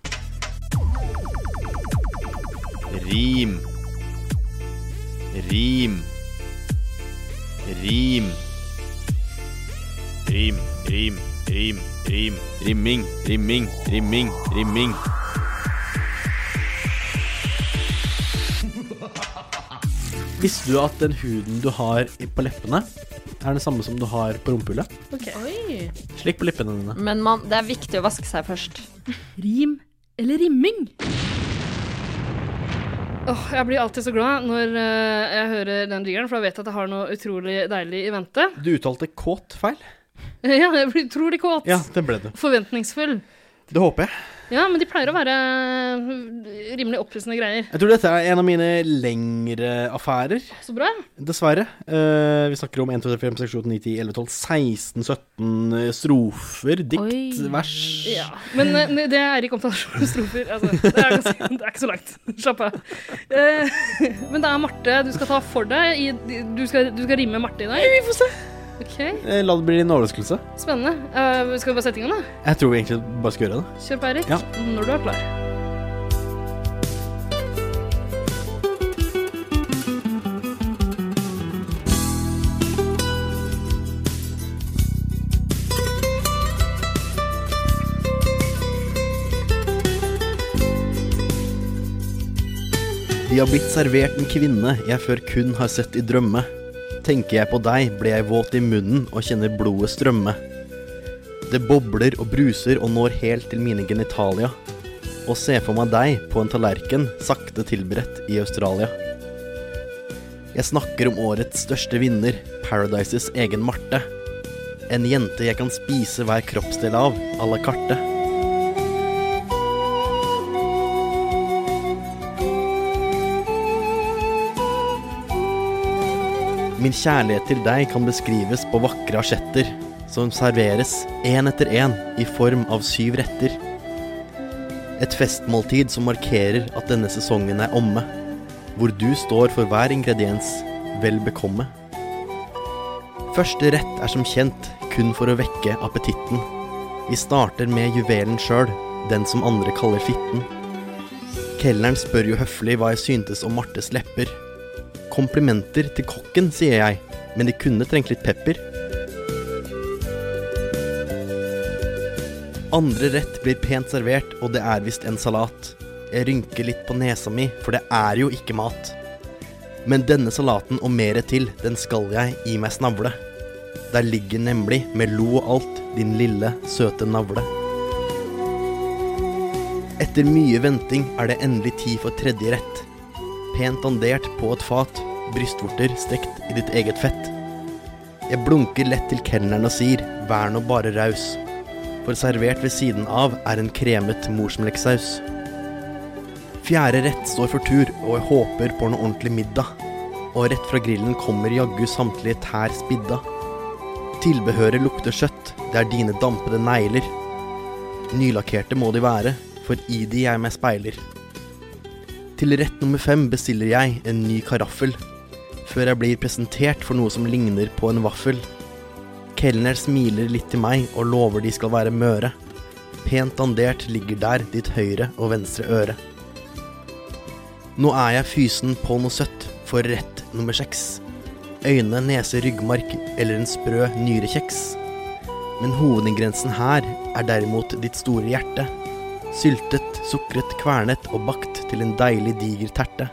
det. Rim. Rim. Rim. Rim, rim, rim, rim. Rimming, rimming, rimming, rimming. Visste du at den huden du har i- på leppene, er den samme som du har på rumpehullet? Slikk på leppene dine. Men man, det er viktig å vaske seg først. Rim eller rimming? Åh, Jeg blir alltid så glad når eh, jeg hører den jingeren, for da vet jeg at jeg har noe utrolig deilig i vente. Du uttalte kåt feil. ja, jeg blir utrolig kåt. Ja, det ble det. Forventningsfull. Det håper jeg. Ja, men de pleier å være eh, rimelig opphissende greier. Jeg tror dette er en av mine lengre affærer, Så bra. dessverre. Eh, vi snakker om 1, 2, 3, 4, 5, 6, 7, 8, 9, 10, 11, 12, 16, 17 strofer, dikt, Oi. vers. Ja. Men eh, det er ikke omtalt som strofer. Altså, det, er ganske, det er ikke så langt. Slapp av. Eh, men det er Marte du skal ta for deg. I, du, skal, du skal rimme Marte i dag. Vi får se. Ok, Eh, la det bli en overraskelse. Spennende. Eh, skal vi bare sette i gang, da? Jeg tror vi egentlig bare skal gjøre det. Kjør på, Eirik. Ja. Når du er klar. De har blitt servert en kvinne jeg før kun har sett i drømme. Tenker jeg på deg, blir jeg våt i munnen og kjenner blodet strømme. Det bobler og bruser og når helt til mine genitalia. Og se for meg deg på en tallerken, sakte tilberedt i Australia. Jeg snakker om årets største vinner, Paradises egen Marte. En jente jeg kan spise hver kroppsdel av, à la carte. Min kjærlighet til deg kan beskrives på vakre asjetter. som serveres én etter én i form av syv retter. Et festmåltid som markerer at denne sesongen er omme, hvor du står for hver ingrediens vel bekomme. Første rett er som kjent kun for å vekke appetitten. Vi starter med juvelen sjøl, den som andre kaller fitten. Kelneren spør jo høflig hva jeg syntes om Martes lepper. Komplimenter til kokken, sier jeg, men de kunne trengt litt pepper. Andre rett blir pent servert, og det er visst en salat. Jeg rynker litt på nesa mi, for det er jo ikke mat. Men denne salaten og mere til, den skal jeg i meg snavle. Der ligger nemlig, med lo og alt, din lille, søte navle. Etter mye venting er det endelig tid for tredje rett. Pent dandert på et fat, brystvorter stekt i ditt eget fett. Jeg blunker lett til kelneren og sier, vær nå bare raus for servert ved siden av er en kremet morsmelksaus. Fjerde rett står for tur, og jeg håper på noe ordentlig middag. Og rett fra grillen kommer jaggu samtlige tær spidda. Tilbehøret lukter kjøtt, det er dine dampede negler. Nylakkerte må de være, for i de jeg meg speiler. Til rett nummer fem bestiller jeg en ny karaffel, før jeg blir presentert for noe som ligner på en vaffel. Kelner smiler litt til meg og lover de skal være møre. Pent dandert ligger der ditt høyre og venstre øre. Nå er jeg fysen på noe søtt for rett nummer seks. Øyne, nese, ryggmark eller en sprø nyrekjeks. Men hovedingrediensen her er derimot ditt store hjerte. Syltet, sukret, kvernet og bakt til en deilig diger terte.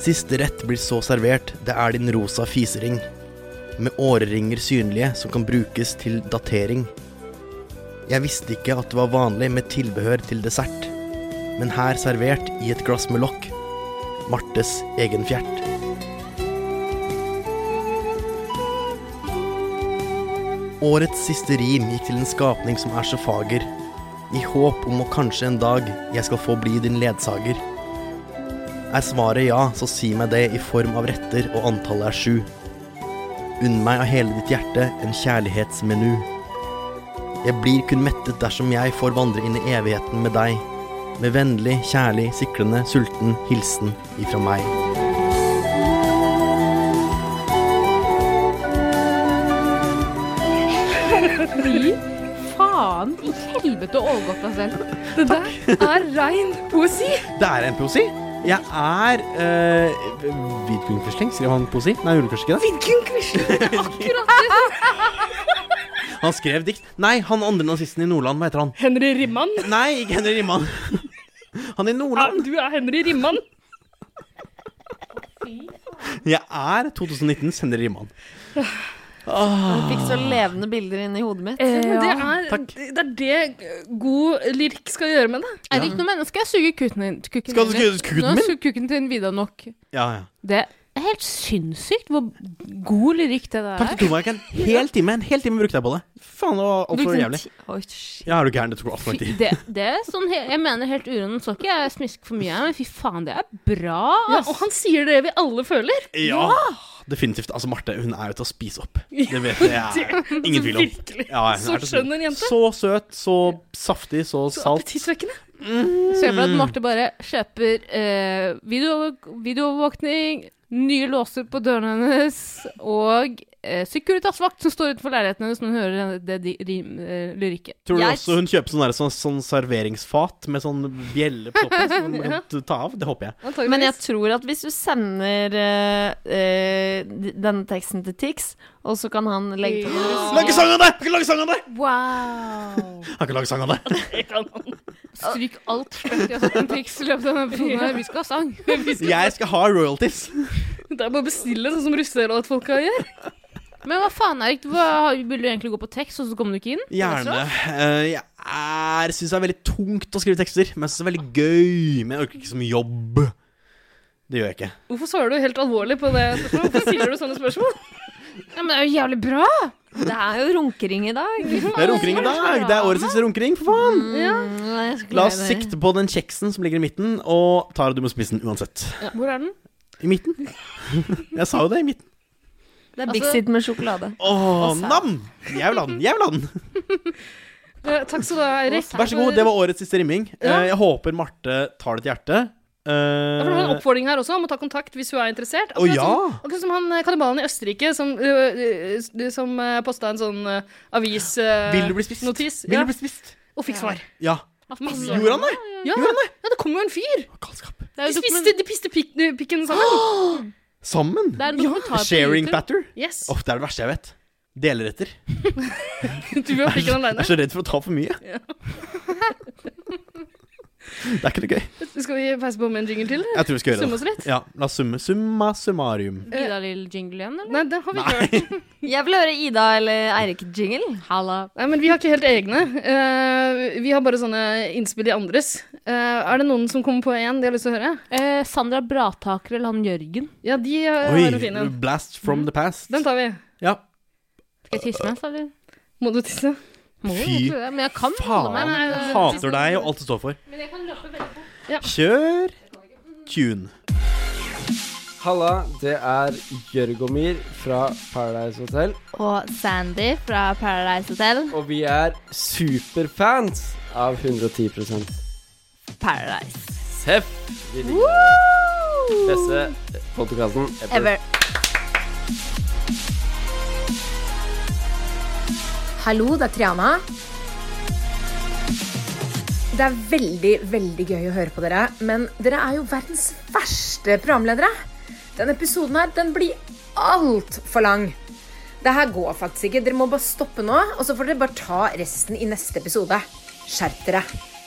Siste rett blir så servert, det er din rosa fisering med åreringer synlige som kan brukes til datering. Jeg visste ikke at det var vanlig med tilbehør til dessert, men her servert i et glass med lokk. Martes egen fjert. Årets siste rim gikk til en skapning som er så fager, i håp om å kanskje en dag jeg skal få bli din ledsager. Er svaret ja, så si meg det i form av retter, og antallet er sju. Unn meg av hele ditt hjerte en kjærlighetsmenu. Jeg blir kun mettet dersom jeg får vandre inn i evigheten med deg. Med vennlig, kjærlig, siklende, sulten hilsen ifra meg. Fy faen i helvete overgått deg selv. Det der er rein poesi. Det er en poesi. Jeg er uh, Vidpunkfisling, skrev han poesi? Nei, han gjorde kanskje ikke det? Vidkun Quisling. Akkurat det. Han skrev dikt. Nei, han andre nazisten i Nordland, hva heter han? Henry Rimman. Nei, ikke Henry Rimman. Han Ja, i Nordland. Du er Henry Rimman. Jeg er 2019s Henry Rimman. Jeg fikk så levende bilder inni hodet mitt. Eh, Det, er, Takk. det er det god lyrikk skal gjøre med det. Er det ikke noe menneske? Jeg suger kuken din. Kuken Skal du din. skru kuden Nå min? suger kuken din videre nok. Ja, ja. Det er helt sinnssykt hvor god lyrikk det der Takk, er. det tok meg ikke en hel time. En hel time brukte jeg på det. Faen, det var altfor Brukte en jævlig. ti- Oi, shit. Ja, er du gæren? Det tok altfor lang Fy- tid. Det, det er sånn, he- jeg mener helt uroen, så ikke jeg smiske for mye her, men fy faen, det er bra, Ja, ass. og han sier det vi alle føler. Ja! Definitivt. Altså, Marte, hun er jo til å spise opp. Det vet jeg. Ingen tvil om. Virkelig. Ja, hun Så er til å spise- skjønn en jente. Så søt, så saftig, så salt. Appetittvekkende. Se for deg at Marte bare kjøper eh, video, videoovervåkning, nye låser på dørene hennes, og eh, Securitas-vakt som står utenfor leiligheten hennes når hun hører denne- det de, rim, eh, lyrikken. Tror du Jeg- også hun kjøper sånn, der, sånn, sånn serveringsfat med sånn bjelle på toppen som hun kan ta av? Det håper jeg. Antageligvis. Men jeg tror at hvis du sender eh, eh, d- denne teksten til Tix, og så kan han legge på noe Lage sang av det! Jeg kan lage sang av det! Wow! Jeg kan lage sang av det. Stryk alt slett jeg har sagt om triks i løpet av denne episoden. her. Vi skal ha sang. Jeg skal ha royalties. Det er bare å bestille sånn som russerollatfolka gjør. Men hva faen, Erik? Hva, vil du egentlig gå på tekst, og så kommer du ikke inn? Gjerne. Eh, Jeg er- syns det er veldig tungt å skrive tekster, men jeg syns det er veldig gøy. Men jeg orker ikke så mye jobb. Det gjør jeg ikke. Hvorfor svarer du helt alvorlig på det? spørsmålet? Hvorfor stiller du sånne spørsmål? Ja, men det er jo jævlig bra! Det er jo runkering i dag. Det er runkering i dag! Det er årets siste runkering, for faen! Nei, Mm, jeg skulle La glede oss Mm-hmm. meg. sikte på den kjeksen som ligger i midten, og Tara, du må spise den uansett. Hvor er den? I midten. Jeg sa jo det, i midten. Det er Big Altså- Sit med sjokolade. Åh, nam! Jeg vil ha den, jeg vil ha den! Eh, Takk skal du ha, Eirik. Vær så god, det var årets siste rimming. Ja. Eh, Jeg håper Marte tar det til hjertet. Da får du en Eh, oppfordring her også om å ta kontakt hvis hun er interessert. Å, ja! som, akkurat som han eh, kannibalen i Østerrike som, øh, øh, som posta en sånn Vil du bli spist? avisnotis. sånn, eh, Vil ja, du bli spist? og fikk svar. Ja. Masse. Gjorde han det? Ja, ja, det kom jo en fyr! Galskap. Det er De jo spiste, dokumen- de spiste pik, pikken sammen. Sammen? det er en dokumentar på Sharing YouTube. platter? Yes. Åh, det er det verste jeg vet. Deleretter. Du var pikken Jeg aleine. er så redd for å ta for mye. Ja. det er ikke noe gøy. Skal vi peise på med en jingle til? eller? Jeg tror vi skal gjøre Summe oss det. litt? Ja, la oss summe. Summa summarum. Ida Lill Jingle igjen, eller? Nei, det har vi ikke hørt. Jeg vil høre Ida eller Eirik-jingle. Halla. Nei, men vi har ikke helt egne. Eh, vi har bare sånne innspill i andres. Eh, er det noen som kommer på en de har lyst til å høre? Eh, Sandra Brataker eller han Jørgen? Ja, de eh, Oi, har en fin en. blast from the past. Den tar vi. Ja. Skal jeg tisse mens, eller? Må du tisse? Må jo Fy egentlig det, men jeg kan holde meg. Faen, men- nei, jeg hater deg og alt du står for. Men jeg kan løpe veldig fort. Kjør tune. Halla, det er Jørgomir fra Paradise Hotel. Og Sandy fra Paradise Hotel. Og vi er superfans av 110 Paradise. Seff! Vi liker dere. Beste podkasten ever. Hallo, det er Triana. Det er veldig, veldig gøy å høre på dere, men dere er jo verdens verste programledere. Denne episoden her, den blir altfor lang. Det her går faktisk ikke. Dere må bare stoppe nå, og så får dere bare ta resten i neste episode. Skjerp dere.